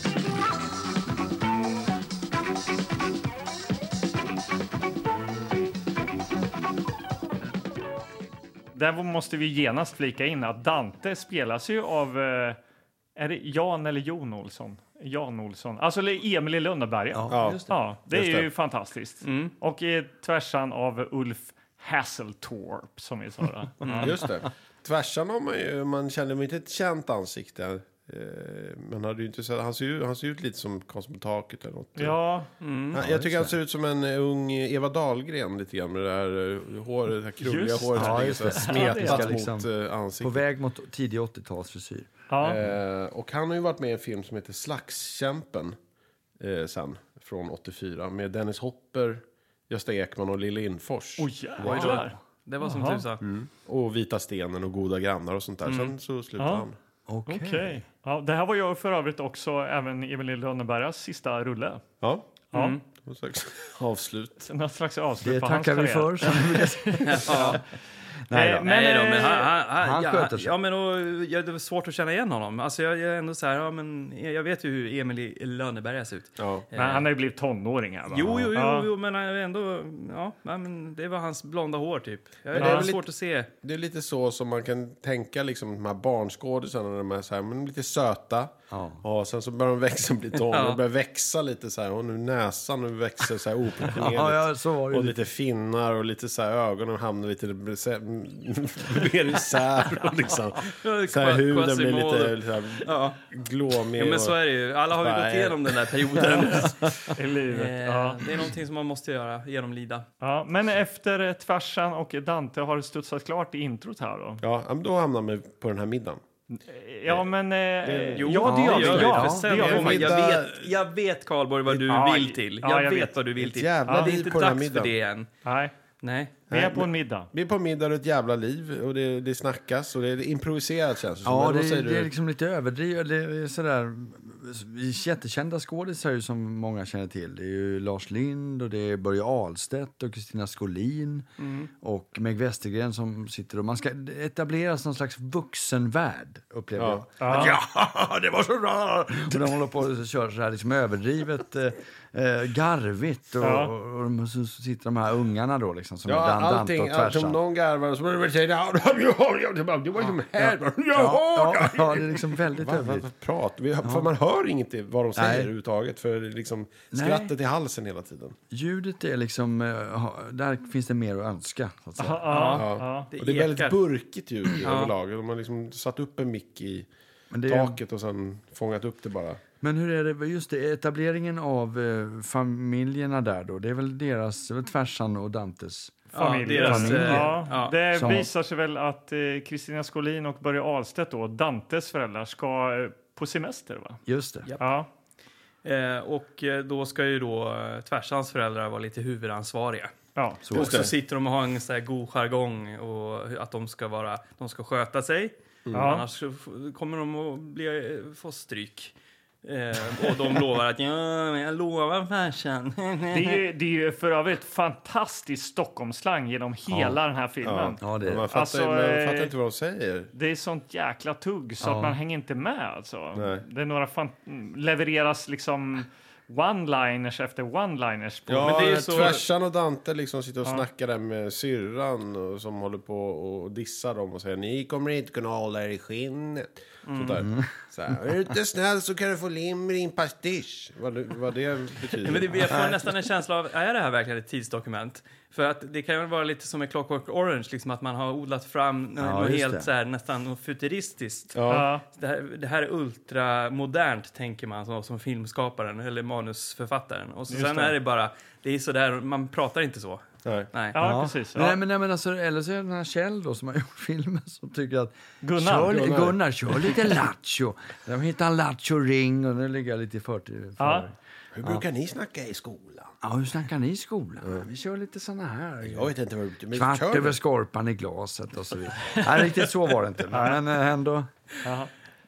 Där måste vi genast flika in att Dante spelas ju av, eh, är det Jan eller Jon Olsson? Jan Olsson. Alltså eller Emil i Lönneberga. Ja, Ja. det Just är det. ju fantastiskt. Mm. Och i tvärsan av Ulf Hasseltorp, som vi sa. då. Mm. Ja. Just det. Tvärsan har man ju, man känner ju inte ett känt ansikte. Eh, Man hade ju inte sett, han ser ju han ser ut lite som Karls på taket eller något. ja, Han- jag tycker han ser ut som en eh, ung Eva Dahlgren lite grann med det här eh, håret, det här krulliga Just håret som Ja, ligger just så här det. smetat Ja, det är- liksom mot eh, På ansiktet. väg mot tidig 80-talsfrisyr. ja. Eh, och han har ju varit med i en film som heter Slagskämpen eh, sen, från 84, med Dennis Hopper, Gösta Ekman och Lille Infors. Oj, jävlar. Det var som Jaha. tusan. Mm. Och Vita stenen och Goda grannar och sånt där. Sen så slutade Ja. han. Okej. Okej. Ja, det här var ju för övrigt också även Emil i Lönnebergas sista rulle. Ja, Mm. Ja, det var slags avslut. så något slags avslut Det på hans tackar vi karriär. för. som vi brukar säga. Nej Eh, då. Nej då, eh, men han, han, han, han ja, sköter sig. Ja, men och, ja, det var svårt att känna igen honom. Alltså, jag, jag är ändå så här, ja, men, jag vet ju hur Emil i Lönneberga ser ut. Ja. Men han har ju blivit tonåring här va? Jo, jo, jo, Ja. jo men han är ändå... Ja, nej, men det var hans blonda hår, typ. Jag, det det är är väl svårt att se. Det är lite så som man kan tänka liksom de här barnskådisarna, de är så här, men lite söta. Ja. Ja, sen så börjar de växa och bli tonåringar, Ja. de börjar växa lite så här, och nu näsan nu växer så här oproportionerligt. Ja, ja, så var det och ju. lite finnar och lite så här ögonen hamnar lite bese- mer isär och liksom. Så här huden blir lite så här, Ja. glåmig. ja, men så är det ju. Alla har ju Nej. gått igenom den där perioden. I livet. Ja. Eh, Det är någonting som man måste göra, genomlida. Ja. Men efter eh, Tvärsan och Dante har det studsat klart i introt här då? Ja, men då hamnar man på den här middagen. Ja, men... Eh, Jo, ja, det gör vi. ju, för Ja, det sen gör kommer- vi. jag, Middag- vet, jag vet, Karlborg, vad du Ja, vill till. ja, Jag, jag vet, vet. vad du vill Ett till. jävla det är liv inte på den här dags för middagen. det än. Nej, Nej. vi är på en middag. Vi är på en middag och ett jävla liv och det, det snackas och det är improviserat känns det som. Ja, Eller vad det, säger är- det är du? liksom lite överdrivet. Det är sådär, jättekända skådisar ju som många känner till. Det är ju Lars Lind och det är Börje Ahlstedt och Kristina Skolin Mm. och Meg Westergren som sitter och... Man ska etableras någon slags vuxenvärld, upplever Ja. jag. Att, ja, det var så bra! Och de håller på och kör så här liksom överdrivet eh, eh, garvigt och, Ja. och, de- så så sitter de här ungarna då liksom som Ja, är Dan- Dante allting. och allting om Tvärsan. någon garvar och så börjar du säga ja, ja, ja, ja, det var- det var ju som här. Ja, Ja, ja, ja, ja, det är liksom väldigt Vad överdrivet. vad prat? Vi, för man hör inget i vad de säger Nej. överhuvudtaget. För det är liksom Nej. skrattet i halsen hela tiden. Ljudet är liksom... eh, ha- Där finns det mer att önska. Så att säga. Ja, Ja. ja. Det och det är ekar. väldigt burkigt ljud överlag. De har liksom satt upp en mick i Men, det är, taket och sen fångat upp det bara. men hur är det? Just det, etableringen av eh, familjerna där då. Det är väl deras, det är väl Tvärsan och Dantes. Familj. Ja, deras, eh, ja. ja. Det Som- visar sig väl att eh, Kristina Skolin och Börje Ahlstedt, då, Dantes föräldrar, ska eh, på semester. va? Just det. Ja. Ja. Eh, och eh, då ska ju då eh, tvärsans föräldrar vara lite huvudansvariga. Ja. Så. och så sitter de och har en sån här god jargong och hur- att de ska, vara, de ska sköta sig. Ja. Annars så f- kommer de att bli, få stryk. Eh, och de lovar att ja, men jag lovar farsan. Det, är ju, det är ju för övrigt fantastisk Stockholmsslang genom hela den här filmen. Ja, det Men är man det. fattar, Alltså, ju- man eh, fattar inte vad de säger. Det är sånt jäkla tugg så Ja. att man hänger inte med. Alltså. Nej. Det är några fan, levereras liksom one-liners efter one-liners. på- Ja, men det är ju när så- Tvärsan och Dante liksom sitter och snackar där med syrran och, som håller på och dissar dem och säger ni kommer inte kunna hålla er i skinnet. Sånt Mm. där. Så här, är du inte snäll så kan du få lim i din pastisch. Vad, det- vad det betyder. Men det, jag får nästan en känsla av, är det här verkligen ett tidsdokument? För att det kan ju vara lite som i Clockwork Orange, liksom att man har odlat fram Ja, något just helt det. så här, nästan något futuristiskt. Ja. Det, här, det här är ultramodernt, tänker man som, som filmskaparen eller manusförfattaren. Och så, sen är det bara, det är sådär, man pratar inte så. Nej. Nej. Ja, precis. Ja. Nej, men, nej, men alltså, eller så är det den här Kjell då som har gjort filmen som tycker att Gunnar. kör, Gunnar. Gunnar. kör lite lattjo. De hittar en lattjo ring och nu ligger jag lite i förtid. För. Ja. Ja. Hur brukar ni snacka i skolan? hur snackar ni i skolan? Vi kör lite såna här. Jag vet inte vad det betyder. men Kvart kör över du. skorpan i glaset och så vidare. Nej, riktigt så var det inte. Men eh, ändå.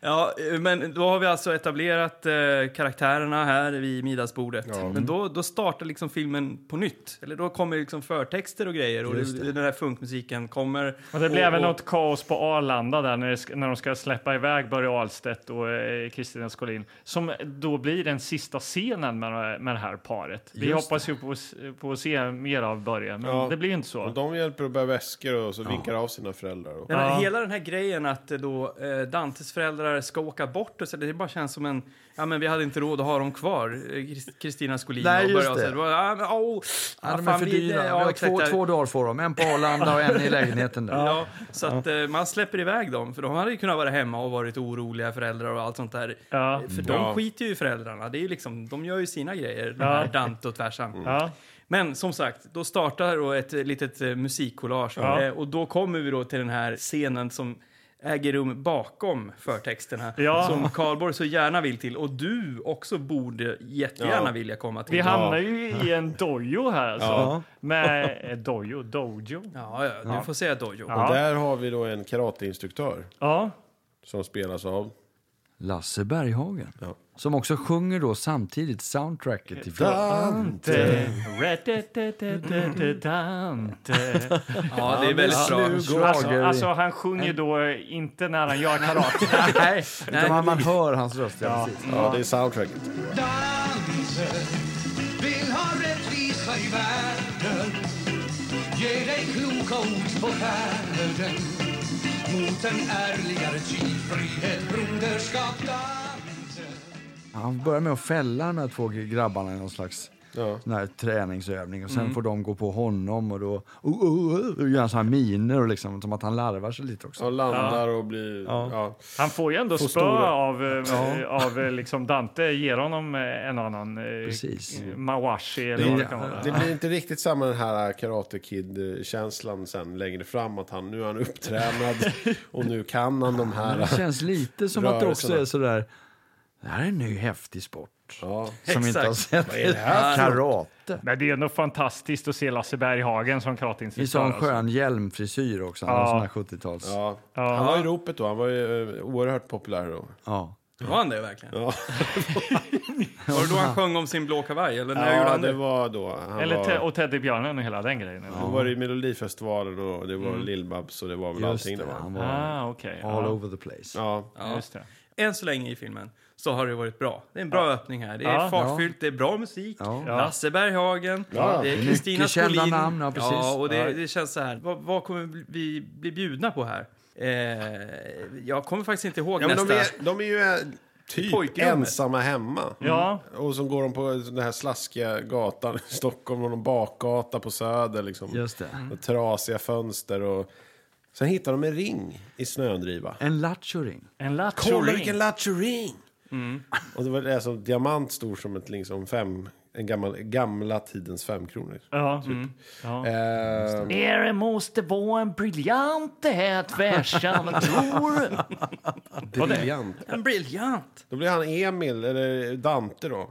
Ja, eh, men då har vi alltså etablerat eh, karaktärerna här vid middagsbordet. Men då, då startar liksom filmen på nytt. Eller då kommer liksom förtexter och grejer och Just det. den där funkmusiken kommer. Och det blev och, väl något kaos på Arlanda där när, det, sk- när de ska släppa iväg Börje Ahlstedt och eh, Kristina Skolin som då blir den sista scenen med, med det här paret. Vi Just hoppas ju på, att s- på att se mer av Börje, men Ja. det blir ju inte Och så. de hjälper att bära väskor och så vinkar av sina föräldrar. Och... Nej, men Ja. Hela den här grejen att eh, då eh, Dantes föräldrar föräldrar ska åka bort. Och så, det bara känns som en... Ja, men vi hade inte råd att ha dem kvar. Eh, Kristina Skolin Nej, och just började och det. så, det. Var, ja, men, åh, Ja, de är fan, för vi- dyra. det- Vi har exakt, två, där- två dagar får de. En på Arlanda och en i lägenheten där. Ja, så att eh, man släpper iväg dem. För de hade ju kunnat vara hemma och varit oroliga föräldrar och allt sånt där. Ja. Eh, För de Ja. skiter ju i föräldrarna. Det är ju liksom, de gör ju sina grejer, de Ja. här Dante och tvärsan. Ja. Men som sagt, då startar då ett eh, litet eh, musikkollage. Ja. Eh, och då kommer vi då till den här scenen som äger rum bakom förtexterna Ja. som Karlborg så gärna vill till och du också borde jättegärna Ja. vilja komma till. Vi hamnar ju i en dojo här alltså. Med eh, dojo, dojo. Ja, ja, du får säga Dojo. Ja. Där har vi då en karateinstruktör Ja, som spelas av... Lasse Berghagen. Ja. Som också sjunger då samtidigt soundtracket till filmen. Dante. Re-de-de-de-de-de, Dante. Ja, det är väldigt bra. Alltså, alltså han sjunger då inte när han gör karate. Nej, utan man, man hör hans röst. Ja, precis. Ja, det är soundtracket. Dante vill ha rättvisa i världen Ge dig kloka ord på färden Mot en ärligare tid, frihet, broderskap Dante Han börjar med att fälla de här två grabbarna i någon slags Ja. sån här träningsövning. Och sen får de gå på honom och då oh, oh, oh, och gör han så här miner och liksom, som att han larvar sig lite också. Och landar och blir... Ja. Han får ju ändå spö stora. av, eh, av eh, liksom Dante, ger honom eh, en annan eh, Precis. mawashi eller vad det kan vara. Det blir inte riktigt samma den här Karate Kid-känslan sen längre fram. Att han, nu är han upptränad och nu kan han de Det här... känns lite som att det också Rörelserna. är sådär, det här är en ny häftig sport. Ja. Som vi inte har Exakt. sett. är det här Karate. Men det är nog fantastiskt att se Lasse Berghagen som I sån karateinstruktör. alltså. skön hjälmfrisyr också. Han Ja. har sån här 70-tals. Ja. Ja. Han var i ropet då. Han var ju eh, oerhört populär då. Var han det verkligen? Var det då han sjöng om sin blå kavaj? Eller när gjorde Ja, han det? det var då. Han Eller te- var, och Teddybjörnen och hela den grejen. eller? då var det ju Melodifestivalen och det var Lill-Babs och det var väl Just allting det, det var. han var Ah, okej. all Ja, over the place. Ja. just det. Än så länge i filmen så har det varit bra. Det är en bra öppning här. Det är Ja. fartfyllt, det är bra musik. Ja. Lasse Berghagen, Ja. det är Kristina Mycket kända Skolin. namn, ja, precis. och det, det känns så här, vad, vad kommer vi bli bjudna på här? Eh, jag kommer faktiskt inte ihåg Ja, men nästa. de, är, de är ju eh, typ Pojkrummet. ensamma hemma. Ja. Och så går de på den här slaskiga gatan i Stockholm, någon bakgata på Söder. Liksom. Just det. Och trasiga fönster och... Sen hittar de en ring i snödriva. En lattjoring. En Kolla lattjo vilken lattjo ring! Och det var det som diamant stor som ett liksom fem... En gammal, gamla tidens femkronor. Ja. Mm. Ja. Eh, Det måste vara en briljant det här tvärsan, tror briljant. En briljant! Då blir han Emil, eller Dante då,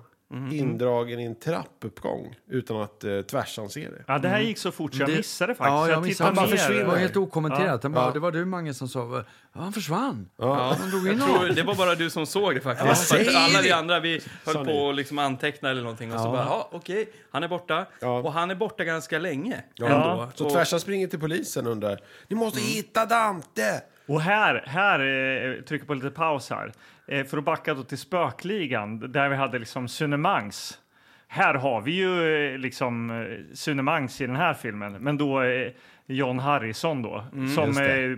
indragen i en trappuppgång utan att eh, tvärsan ser det. Ja, Mm. det här gick så fort så jag Det- missade faktiskt. Ja, jag jag missade. Han bara tittade ner. försvinner. Det var helt okommenterat. Han bara, Ja. Det var du Mange som sa, ja, han försvann. Ja. Han drog in Jag honom. tror, det var bara du som såg det faktiskt. För Ja, att säg alla vi det! andra vi höll Sa ni. på att liksom anteckna eller någonting och så bara, ja okej, han är borta. Ja. Och han är borta ganska länge. Ja. ändå. Så Och- tvärsan springer till polisen och undrar, ni måste hitta Dante! Och här, här eh, trycker på lite paus här. Eh, för att backa då till spökligan där vi hade liksom Sunemangs. Här har vi ju eh, liksom eh, Sunemangs i den här filmen, men då eh, John Harrison då Mm, som eh,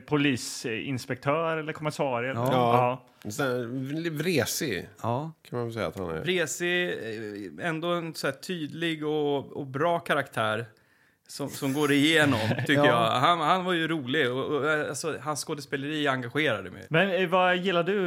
polisinspektör eller kommissarie. eller- Ja. Sen, vresig Ja. kan man väl säga att han är. Vresig, eh, ändå en så här tydlig och, och bra karaktär som, som går igenom, tycker jag. Han, han var ju rolig och, och eh, alltså, hans skådespeleri engagerade mig. Men eh, vad gillar du?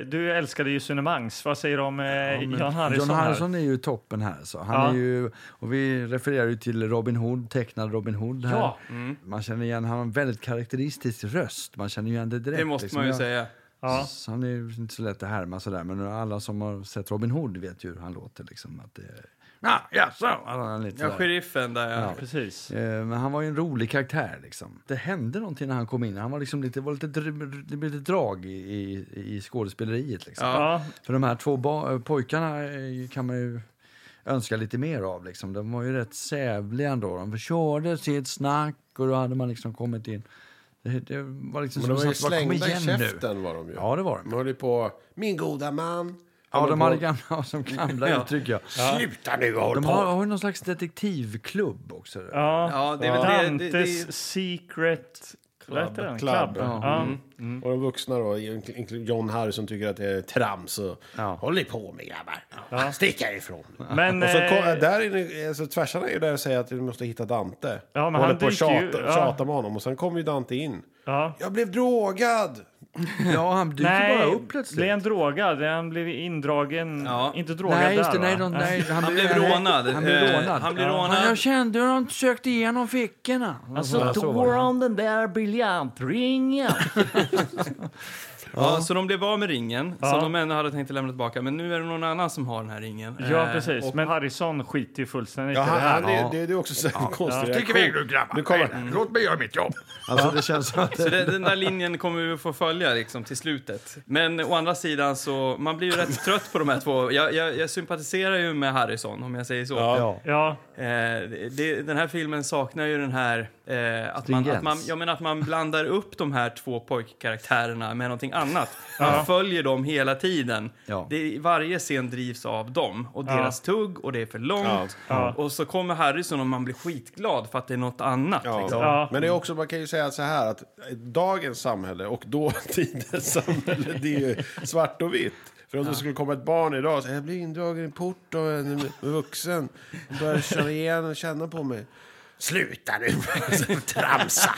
Eh, du älskade ju Sunemangs. Vad säger du om eh, Men John Harrison? John här? Harrison är ju toppen här. Så. Han Ja. är ju, och vi refererar ju till Robin Hood, tecknad Robin Hood. Här. Ja. Mm. Man känner igen, han har en väldigt karaktäristisk röst. Man känner ju igen det direkt. Det måste liksom. man ju Jag- säga. Ja. Så Han är ju inte så lätt att härma sådär, men alla som har sett Robin Hood vet ju hur han låter. Liksom, att det är... Ah, jaså! Han är lite Ja, sådär. sheriffen där, ja. Precis. Eh, Men han var ju en rolig karaktär. Liksom. Det hände någonting när han kom in. Han var liksom lite, var lite, dr- det blev lite drag i, i, i skådespeleriet. Liksom. Ja. För de här två ba- pojkarna eh, kan man ju önska lite mer av. Liksom. De var ju rätt sävliga ändå. De körde sitt snack och då hade man liksom kommit in. Det, det var liksom Men de var ju som att, bara, kom slängda i igen nu. käften var de ju. Ja, det var de. De höll ju på, min goda man. Ja, de på- hade gamla, som gamla uttryck. Ja. Sluta nu och håll De på. har, har ju någon slags detektivklubb också. Ja. Ja, det är väl det, det, det, Dantes Secret Vad heter den? Club. Club. Ja. Ja. Och de vuxna då, inkl- inkl- John Harrison tycker att det är trams. Och, Ja. Håll ni på med grabbar. Stick härifrån. Men, Och så kom, eh, där inne, alltså, tvärsarna är ju där och säger att vi måste hitta Dante. Ja, men Håller han på och dyker tjata, ju- ja. tjata med honom. Och sen kommer ju Dante in. ja. Jag blev drogad! Ja, han dyker bara upp plötsligt. blev han drogad? Han blev indragen. Ja. Inte drogad Nej, just det. där, Nej, va? de, Nej. nej, Han blev nej, rånad. Han blev Eh, rånad. han blev Ja. rånad. Jag kände hur de sökte igenom fickorna. Alltså, tog han den där briljantringen? Ja, så de blev av med ringen, som de ändå hade tänkt att lämna tillbaka. Men nu är det någon annan som har den här ringen. ja, Eh, precis. Men Harrison skiter ju fullständigt Ja, i det han, här. han, det, det, det är också så här konstig reaktion. grabbar. Nu kommer, Låt mig göra mitt jobb. Alltså, det känns som att... Så den, den där linjen kommer vi få följa liksom, till slutet. Men å andra sidan så, man blir ju rätt trött på de här två. Jag, jag, jag sympatiserar ju med Harrison, om jag säger så. Ja. Ja, Eh, det, den här filmen saknar ju den här... Eh, att man, Stringens. att man, jag menar att man blandar upp de här två pojkkaraktärerna med någonting annat. Man följer dem hela tiden. Ja. Det, varje scen drivs av dem och Ja. deras tugg och det är för långt. Ja. Och så kommer Harrison och man blir skitglad för att det är något annat. Ja. Liksom. Ja. Men det är också, man kan ju säga så här att dagens samhälle och dåtidens samhälle, det är ju svart och vitt. För om det skulle komma ett barn idag och säga jag blir indragen i en port av en vuxen och börjar köra igen och känna på mig. Sluta nu! Tramsa!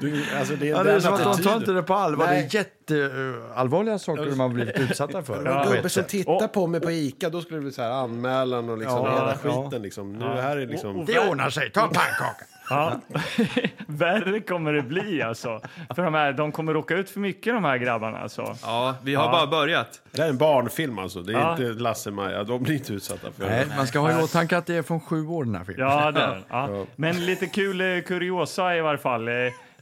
Du, alltså det är Ja, det är den som att de tar inte attityden. det på allvar. Nej. Det är jätteallvarliga saker de har blivit utsatta för. Det var en På gubbe ett som sätt. tittar på mig på Ica, då skulle det bli så här anmälan och liksom Ja, hela ja. skiten liksom. Nu här är liksom... Det ordnar sig. Ta en pannkaka. ja. Värre kommer det bli alltså. För de, här, de kommer råka ut för mycket de här grabbarna alltså. Ja, vi har bara börjat. Det här är en barnfilm alltså, det är Ja. inte Lasse-Maja, de blir inte utsatta för Nej, man ska ha i åtanke att det är från sju år den här filmen. Ja, det är den. ja. Men lite kul eh, kuriosa i varje fall. Eh,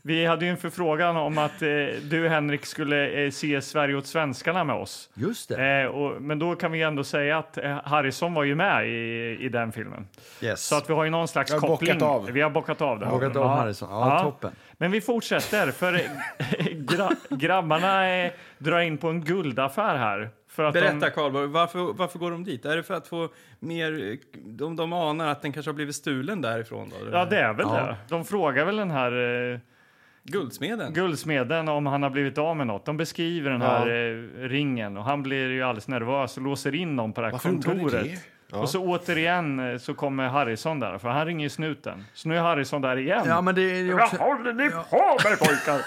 Vi hade ju en förfrågan om att eh, du, Henrik, skulle eh, se Sverige åt svenskarna med oss. Just det. Eh, och, men då kan vi ändå säga att eh, Harrison var ju med i, i den filmen. Yes. Så att vi har ju någon slags Vi har bockat koppling. av. Vi har bockat av det. Bockat av Harrison. Ja, toppen. Men vi fortsätter, för eh, gra grabbarna eh, drar in på en guldaffär här. För att Berätta de, Karlborg, varför, varför går de dit? Är det för att få mer... De, de anar att den kanske har blivit stulen därifrån då? Ja, det är väl Ja. det. De frågar väl den här... Eh, Guldsmeden? Guldsmeden om han har blivit av med något. De beskriver den här eh, ringen och han blir ju alldeles nervös och låser in dem på det här Varför undrar ni kontoret. det? Ja. Och så återigen eh, så kommer Harrison där, för han ringer ju snuten. Så nu är Harrison där igen. Ja, men det är ju Vad också, håller ni på med pojkar?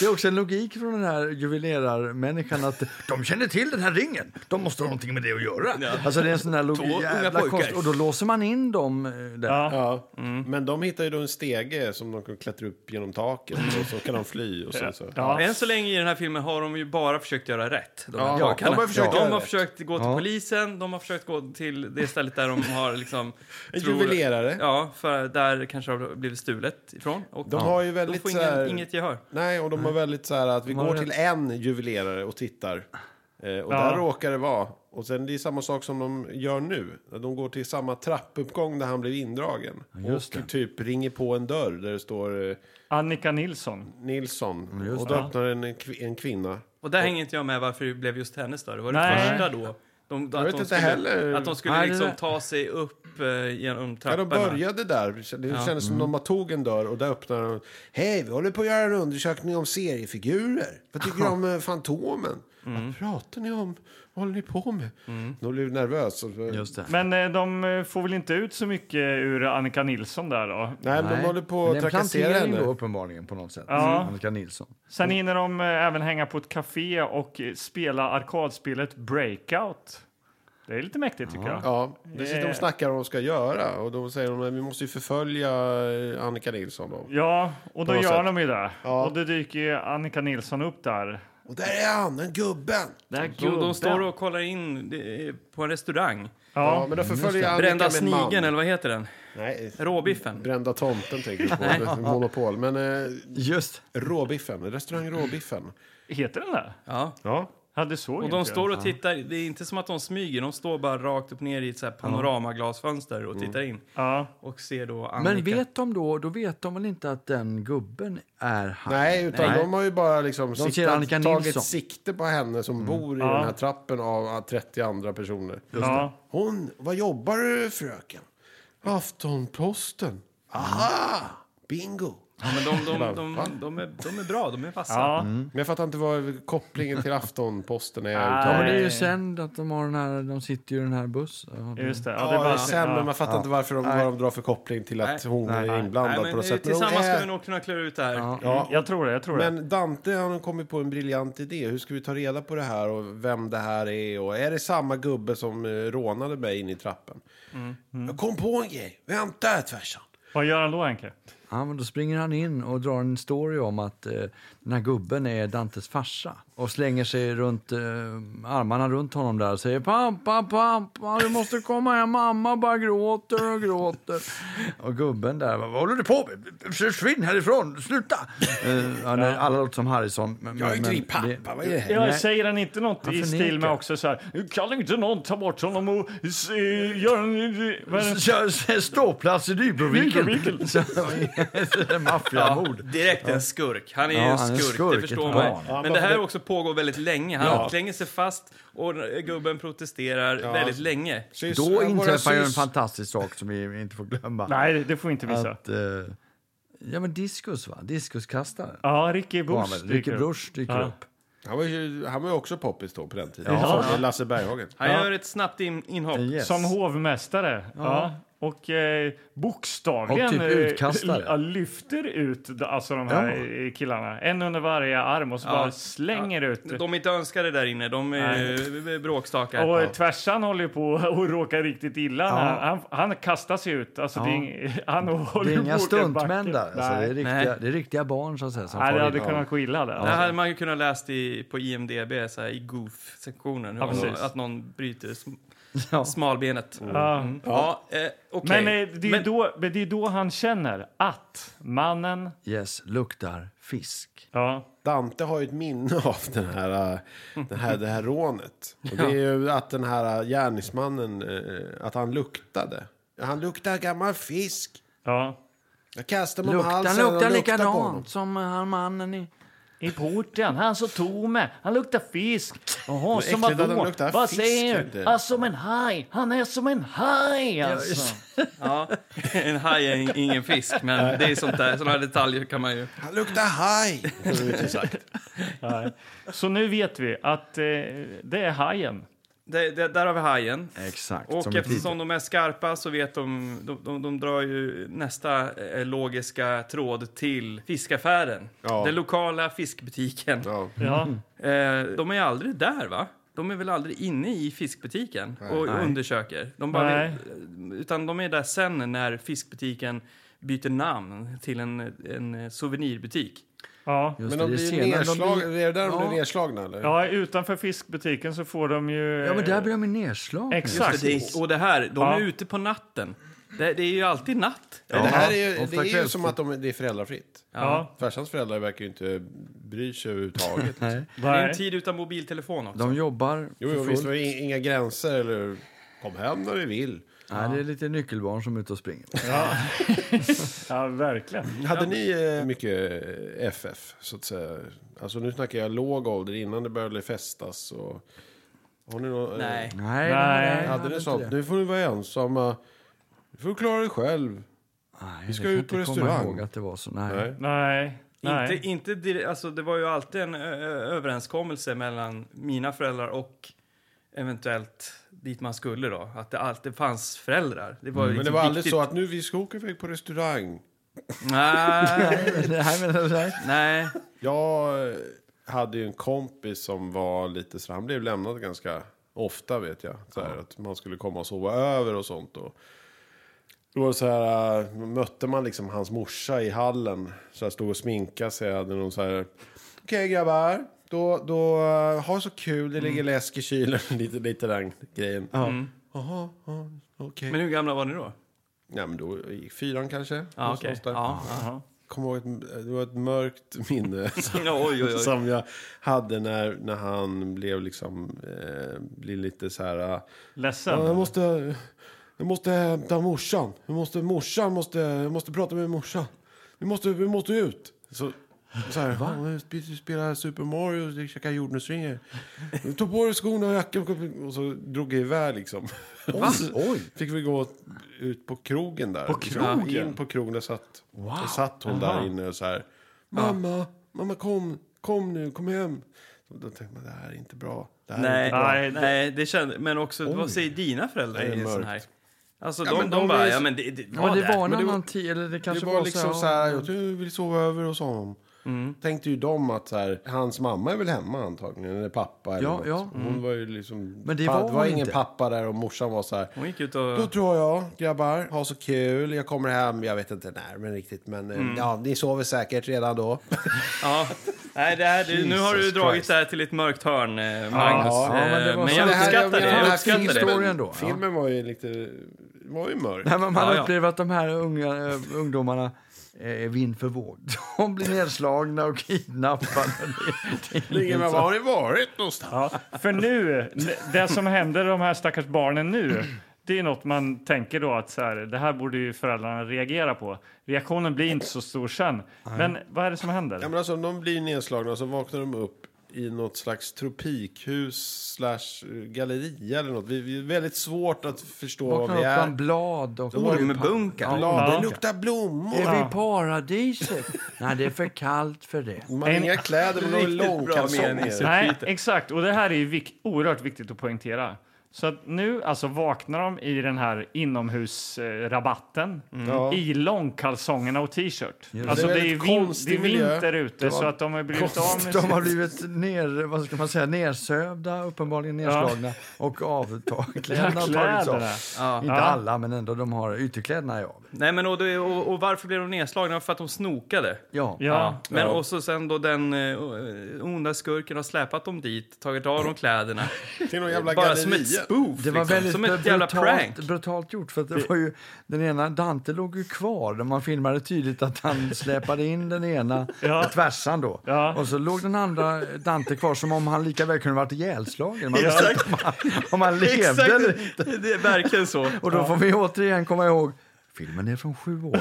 det är också en logik från den här juvelerarmänniskan att de känner till den här ringen. De måste ha någonting med det att göra. Alltså det är en sån där Två logik. unga Jävla pojkar. konst, och då låser man in dem eh, där. Ja. Ja, men de hittar ju då en stege som de kan klättra upp genom taket och så kan de fly och så. så. Ja. Än så länge i den här filmen har de ju bara försökt göra rätt. De, här Ja, pojkarna. de har försökt de göra har rätt. försökt gå till polisen, de har försökt gå till det stället där de har liksom... En tror- juvelerare. Ja, för där kanske har blivit stulet ifrån. Och De har ju de väldigt eh, får så här, ingen, inget gehör. Nej, och de har väldigt så här att vi går till en juvelerare och tittar. Eh, och där råkar det vara. Och sen det är samma sak som de gör nu. De går till samma trappuppgång där han blev indragen. just och det. typ ringer på en dörr där det står eh, Annika Nilsson. Nilsson. och då öppnar en, kvi- en kvinna. Och där hänger inte jag med varför det blev just hennes dörr. Det var det Nej. första då. De, vet de inte skulle, heller. Att de skulle Nej, det liksom där- ta sig upp eh, genom Ja, trapporna. de började där. Det kändes Mm. som de bara tog en dörr och där öppnade de. Hej, vi håller på att göra en undersökning om seriefigurer. Vad tycker du om eh, Fantomen? Mm. Vad pratar ni om? Vad håller ni på med? De blev nervösa. Just det. Men eh, de eh, får väl inte ut så mycket ur Annika Nilsson där då. Nej, men de håller på att Men det är en trakassera plantering henne. Då, uppenbarligen på något sätt. Mm. Ja. Annika Nilsson. Sen hinner de eh, även hänga på ett café och eh, spela arkadspelet Breakout. Det är lite mäktigt tycker jag. Ja, det sitter de och snackar om vad de ska göra. Och de säger att vi måste ju förfölja eh, Annika Nilsson. Då. Ja, och då något gör sätt. de ju det. Och då dyker ju Annika Nilsson upp där. Och där är han, den gubben! Där de, de står och kollar in eh, på en restaurang. Ja, Ja, Mm, men då förföljer jag Annika Brända med en man. Mm. snigeln, eller vad heter den? Nej, Råbiffen. brända tomten tänker jag på. Det är Monopol. Men eh, Just Råbiffen, restaurang Råbiffen. heter den det? Ja. Ja. Ja, det såg Och inte de jag. står och tittar, det är inte som att de smyger, de står bara rakt upp ner i ett så här panoramaglasfönster och tittar in. Ja, Och ser då Annika. Men vet de då, då vet de väl inte att den gubben är han? Nej, utan Nej. de har ju bara liksom ser siktat, Annika tagit Nilsson. sikte på henne som bor i den här trappen av ah, 30 andra personer. ja. Hon, vad jobbar du fröken? Aftonposten. Aha! Bingo! Ja, men de, de, Bara, de, va? de, de, är, de är bra, de är vassa. Ja. Men jag fattar inte vad kopplingen till Aftonposten är. Ja, utan- men det är ju Nej. sänd att de har den här, de sitter ju i den här bussen. Just det. Ja, Ja, det det är var, sen, men man fattar inte varför de, vad de drar för koppling till att Nej. hon är inblandad Nej, på men, något eh, sätt. Men hon tillsammans ska Äh. är- vi nog kunna klura ut det här. Ja, jag tror det. Jag tror det. Men Dante han har kommit på en briljant idé. Hur ska vi ta reda på det här och vem det här är? Och är det samma gubbe som eh, rånade mig in i trappen? Jag kom på en grej. Vänta tvärsan. Vad gör han då, Henke? Ja, men då springer han in och drar en story om att eh, den här gubben är Dantes farsa och slänger sig runt eh, armarna runt honom där och säger pappa, pappa, du måste komma hem, mamma bara gråter och gråter. Och gubben där, vad håller du på med? Försvinn härifrån, sluta! Eh, ja, nej, alla låter som Harrison. Men, Jag är inte men- din pappa. Vad är det här? Ja, Nej. säger han inte något Han i förnekar. stil med också så här... "Nu Kan inte någon ta bort honom och s- eh, göra en... vad är det? Kör ståplats i Nybroviken. Nybroviken. Så- Maffiamord. Direkt en skurk. Han är Ja, ju en han är en skurk, skurk, det förstår ett man. barn. Men det här också pågår väldigt länge. Han klänger sig fast och gubben protesterar väldigt länge. Sys- Då våra inträffar ju en sys- fantastisk sak som vi inte får glömma. Nej, det får vi inte visa. att... Eh, ja, men diskus, va? Diskuskastare. Ja, Ricky Bush Barnet. dyker Ricky upp. Bruch dyker Ja. upp. Han var ju han var ju också poppis då på den tiden. Som Lasse Berghagen. Han gör ett snabbt in, inhopp. Yes. Som hovmästare. Ja. Och eh, bokstavligen Och typ eh, utkastare. ja, lyfter ut d- alltså, de här eh, killarna. En under varje arm och så bara slänger ut. De är inte önskade där inne, de är eh, bråkstakar. Och eh, Tvärsan håller ju på och råkar riktigt illa. Han, han, han kastar sig ut. Alltså, det är ing, han håller Det är på inga att åka stuntmän backen. där. Alltså, det, är Nej. riktiga, Nej. det är riktiga barn så att säga, som Nej, det far hade illa. kunnat gå illa där. alltså. Det här hade man ju kunnat läst i, på IMDB, så här, i Goof-sektionen. Ja, precis. att någon bryter sm- Ja. smalbenet. Ja. Ja, eh, okej. Men, eh, det är ju Men- då, men det är då han känner att mannen... Yes, luktar fisk. Ja, Dante har ju ett minne av den här, äh, den här, det här rånet. Och det är ju att den här äh, gärningsmannen, äh, att han luktade. Han luktar gammal fisk. ja. Jag kastar mig om Luktar halsen och Alltså, luktar luktar på honom. likadant som eh, han mannen i... I porten, han så tomme, han luktar fisk. Jaha, som äckligt att han vadå? luktar Vad fisk, säger inte. du? Ah, som en haj, han är som en haj alltså. Ja, en haj är in- ingen fisk, men det är sånt där, såna här detaljer kan man ju... Han luktar haj. Så nu vet vi att eh, det är hajen. Det, det, där har vi hajen. Exakt. Och som i eftersom de är skarpa så vet de, de, de, de drar ju nästa eh, logiska tråd till fiskaffären. Ja. Den lokala fiskbutiken. Ja. Ja. Eh, de är ju aldrig där va? De är väl aldrig inne i fiskbutiken och undersöker? De bara, Nej. Utan de är där sen när fiskbutiken byter namn till en, en souvenirbutik. Ja. Just Men de det, det är blir scenen, de nedslag, blir- är det där de Ja. blir nedslagna eller? ja, utanför fiskbutiken så får de ju... Ja, men där blir de ju nedslagna. Exakt. Det, och det här, de är Ja. ute på natten. Det, det är ju alltid natt. Men Det här är Ja, ju, det ofta är ju kvällstid. som att de, det är föräldrafritt. Ja. Tvärsans föräldrar verkar ju inte bry sig överhuvudtaget. Nej. Det är en Nej. tid utan mobiltelefon också. De jobbar Jo, jo för visst, fullt. det var in- inga gränser eller kom hem när du vill. Nej, det är lite nyckelbarn som är ute och springer. ja, verkligen. Hade ni eh, mycket eh, FF, så att säga? Alltså nu snackar jag låg ålder, innan det började festas och... Har ni någon, eh, Nej. Nej, Nej. jag Hade inte ni sånt? Nu får ni vara ensamma. Nu får du klara dig själv. Nej, Vi ska jag kan ut på inte komma restaurang. ihåg att det var så. Nej. Nej. Nej. Nej. Inte, inte direkt, alltså det var ju alltid en ö, ö, överenskommelse mellan mina föräldrar och eventuellt dit man skulle då. Att det alltid fanns föräldrar. Det var ju Mm. Men det liksom var aldrig viktigt. så att nu vi ska åka iväg på restaurang. Nej, Nej, men, nej. nej. Jag eh, hade ju en kompis som var lite så han blev lämnad ganska ofta vet jag. Så här, Att man skulle komma och sova över och sånt. Och då var det så här, eh, mötte man liksom hans morsa i hallen. Så här, stod och sminkade sig. Hade någon så här, okej grabbar, då, då eh, ha så kul, det ligger läsk i kylen. lite, lite den grejen. Jaha, ja, okej. Mm. Men hur gamla var ni då? Ja, men då gick fyran kanske. Ja, okej. någonstans där. Ja. Kommer ihåg ett, det var ett mörkt minne. Ja, oj, oj, oj. Som jag hade när, när han blev liksom, eh, blev lite så här... eh, Ledsen. Jag måste, jag måste hämta morsan. Jag måste, morsan måste, jag måste prata med morsan. Vi måste, vi måste ut. Så Så här, "Ja, men sp- du spelar Super Mario och käkar jordnötsringar. Ta på dig skorna och jackan. Och så drog jag iväg liksom. Och så Oj. Fick vi gå ut på krogen där. På krogen? In på krogen. Där satt, där satt hon där inne och så här. Mamma, mamma kom, kom nu, kom hem. Så Då tänkte man, det här är inte bra. Det här Är Nej, inte bra. nej, nej, det kände, men också, vad säger dina föräldrar Nej, i det är en sån mörkt. här? Alltså Ja, de, men de, de är bara, ju- ja men det, det Ja, var men där. det var en Men det var- annan tid, eller det Det kanske var liksom så här, jag ja. Mm. tror jag vill sova över hos honom. Tänkte ju de att så här, hans mamma är väl hemma antagligen, eller pappa eller Ja, något. ja. Mm. Hon var ju liksom... Men det pa- var det var hon ingen inte. pappa där och morsan var så här. Hon gick ut Då och... tror jag, grabbar, ha så kul. Jag kommer hem, jag vet inte när men riktigt, men Mm. eh, ja, ni sover säkert redan då. Ja. Nej, det här, du, nu har du Jesus dragit Christ. det här till ett mörkt hörn, eh, Magnus. Ja, Eh, men det var men, så- jag det här- uppskattar det. jag menar, Jag den här uppskattar det. filmhistorien- Historien då, ja. Filmen var ju lite, var ju mörk. Nej, men man Ja, ja. upplever att de här unga, eh, ungdomarna eh, är vind för våg. De blir nedslagna och kidnappade. Det- det är Ingen, men så- var har ni varit någonstans? Ja, för nu, det som händer de här stackars barnen nu, det är något man tänker då att så här, det här borde ju föräldrarna reagera på. Reaktionen blir inte så stor sen. Men vad är det som händer? Ja, men alltså, om de blir nedslagna så vaknar de upp i något slags tropikhus slash eh, galleria eller något. Vi, vi är väldigt svårt att förstå vad Vaknar vi upp bland är. blad och... Ormbunkar. Blad, Ja. det luktar blommor. Är vi i paradiset? Nej, det är för kallt för det. Man har En- inga kläder, man har Riktigt bra långkalsonger. mening. Nej, Peter. exakt. Och det här är ju vik- oerhört viktigt att poängtera. Så att nu alltså vaknar de i den här inomhusrabatten Ja. i långkalsongerna och t-shirt. Alltså Mm. Det det är, ju är väldigt vin- det konstig är miljö. vinter ute så att de har blivit av med De sitt- har blivit ner, vad ska man säga, nersövda, uppenbarligen nedslagna och avtagna. Ja, kläderna. Inte Ja. alla, men ändå de har ytterkläderna är av. Nej, men och, det- och, och varför blev de nedslagna? För att de snokade. Ja. Ja. Men Ja. och så sen då den eh, onda skurken har släpat dem dit, tagit av dem kläderna. Till någon jävla Bara som ett galleria. spoof, Det var liksom. väldigt som ett jävla prank. brutalt, brutalt gjort. För att det var ju, den ena, Dante låg ju kvar. Där man filmade tydligt att han släpade in den ena Ja. tvärsan. Då. Ja. Och så låg den andra Dante kvar som om han lika väl kunde varit ihjälslagen. Man visste inte om han, om han levde Exakt, eller det, det är verkligen så. Och då får vi återigen komma ihåg, filmen är från sju år.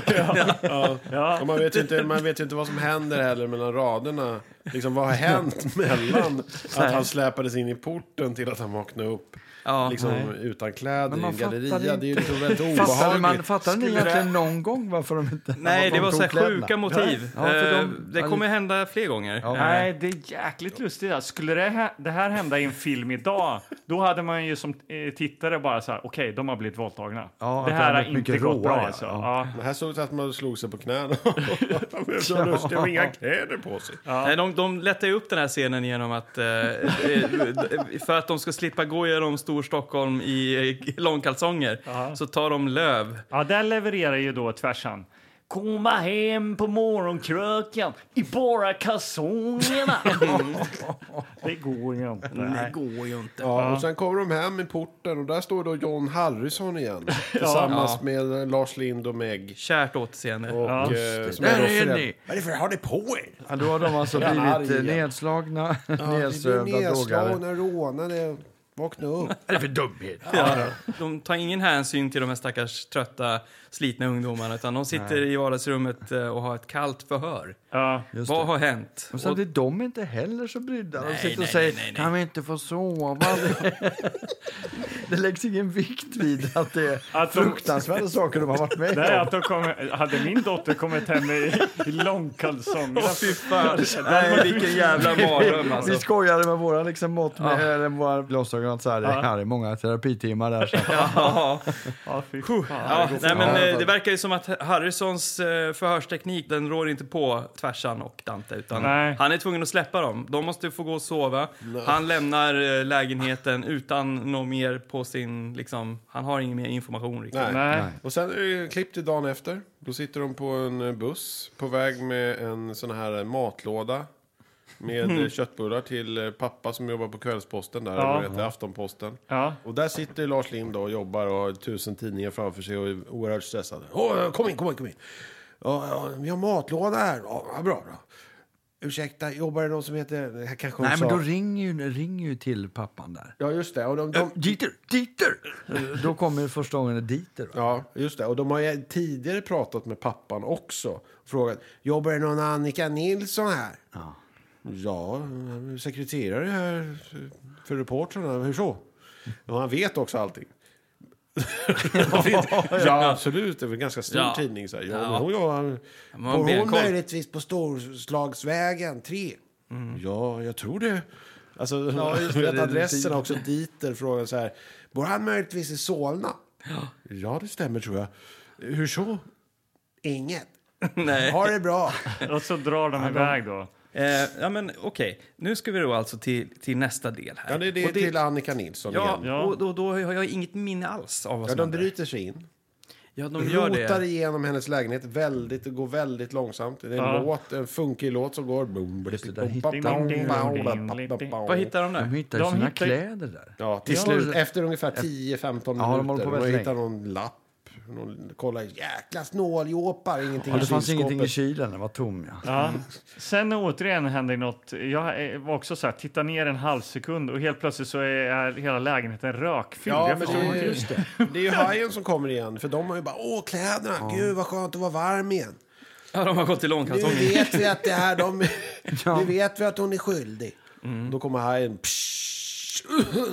Och man, vet ju inte, man vet ju inte vad som händer heller mellan raderna. Liksom, vad har hänt mellan att han släpades in i porten till att han vaknade upp Ja. liksom, utan kläder Men i man en galleria? fattar Det är ju liksom väldigt Fattade, obehagligt. man, fattade ni egentligen någon gång varför de inte Nej, varför det de var tog så här kläderna? sjuka motiv. Ja, för de- Eh, det kommer hända fler gånger. Eh, Nej, det är jäkligt lustigt. Där. Skulle det här, det här hända i en film idag, då hade man ju som eh, tittare bara så här, okej, de har blivit våldtagna. Ja, att det det här hade har varit inte mycket gått bra råare, ja. alltså. Ja. Ja. Men här såg det ut att man slog sig på knäna. Han blev så lustig och inga kläder på sig. Nej, de, de lättar ju upp den här scenen genom att... Eh, eh, för att de ska slippa gå genom Storstockholm i eh, långkalsonger så tar de löv. Ja, där levererar ju då tvärsan. Komma hem på morgonkröken i bara kalsongerna. det går ju inte. Nej. går ju inte. Ja, och sen kommer de hem i porten och där står då John Harrison igen. Tillsammans med Lars Lind och Meg. Kärt återseende. Och, Ja. eh, som Där då är föräld- ni! Vad är det för har ni på er? Ja, då har de alltså Jävla blivit arg eh, igen. nedslagna, Ni blir nedsövda, drogade. Vad nedslagna, rånade. Vakna upp. är det för dumhet? Ja. De tar ingen hänsyn till de här stackars trötta, slitna ungdomarna utan de sitter i vardagsrummet eh, och har ett kallt förhör. Ja. Just Vad det. har hänt? Och sen är de inte heller så brydda. De sitter och nej, säger, nej, nej, nej. kan vi inte få sova? det läggs ingen vikt vid att det är Att de- fruktansvärda saker de har varit med Nej, om. att de kommer, hade min dotter kommit hem i, i långkalsonger Åh, fy fan. Nej, vilken jävla mardröm Vi alltså. skojade med våra liksom, mått med, eller våra glasögon. och Så här, Det här är många terapitimmar där. Så. här. Ja. Ja, fy fan. Ja, nej, men, eh, det verkar ju som att Harrisons eh, förhörsteknik den rår inte på Tvärsan och Dante. Utan Nej. han är tvungen att släppa dem. De måste få gå och sova. Han lämnar eh, lägenheten utan något mer på sin... Liksom, han har ingen mer information riktigt. Nej. Nej. Och sen är det klipp till dagen efter. Då sitter de på en eh, buss på väg med en sån här eh, matlåda. Med eh, köttbullar till eh, pappa som jobbar på Kvällsposten där, Mm. Ja. eller vad heter det, Aftonposten. Ja. Och där sitter ju Lars Lind då och jobbar och har tusen tidningar framför sig och är oerhört stressad. Åh, kom in, kom in, kom in. Ja, ja, vi har matlåda här. Ja, bra, bra. ursäkta, jobbar det någon som heter... Jag kanske hon Nej, sa. men då ringer ju, ringer ju till pappan där. Ja, just det. Och de, de, Äh, Dieter! Dieter! då kommer ju första gången Dieter. Va? ja, just det. Och de har ju tidigare pratat med pappan också. Frågat, jobbar det någon Annika Nilsson här? Ja. Ja, sekreterare här för reportrarna. Hur så? Och han vet också allting. ja, absolut. Det är väl en ganska stor Ja. tidning. Så här. Ja, Ja. Men hon jobbar... man Bor hon benkoll. möjligtvis på Storslagsvägen 3? Mm. Ja, jag tror det. Alltså, ja, just det, adressen har också Dieter frågar så här. Bor han möjligtvis i Solna? Ja. det stämmer tror jag. Hur så? Inget. Nej. Ha det bra. Och så drar de iväg då. Eh, ja, men okej. Nu ska vi då alltså till, till nästa del här. Ja, det är det, Och till Annika Nilsson Ja, igen. Ja. och då, då har jag inget minne alls av vad Ja, som de hände. bryter sig in, Ja, de gör rotar det. igenom hennes lägenhet väldigt, det går väldigt långsamt. Det är en Ja. låt, en funkig låt som går... Boom, det, där hittar bom, de- bom, ding, bom, ding, bom, ding, bom, ding. bom. Vad hittar de De där? hittar ju De sina hittar ju- kläder där. Ja, till Ja, slut, det- efter ungefär 10-15 Ja, de håller minuter. på De, väldigt hittar någon lapp. Någon, kolla, jäkla snåljåpar, ingenting Ja, i det fanns kylskåpet. ingenting i kylen, den var tom. Ja. Ja. Sen återigen händer något. Jag eh, var också så här, titta ner en halv sekund och helt plötsligt så är hela lägenheten rökfylld. Ja, jag men förstår det, inte. just det. det är ju hajen som kommer igen. För de har ju bara, åh kläderna, gud vad skönt att vara varm igen. Ja, de har gått till Nu långkalsonger. vet vi att det här, de, Ja. nu vet vi att hon är skyldig. Då kommer hajen, psh,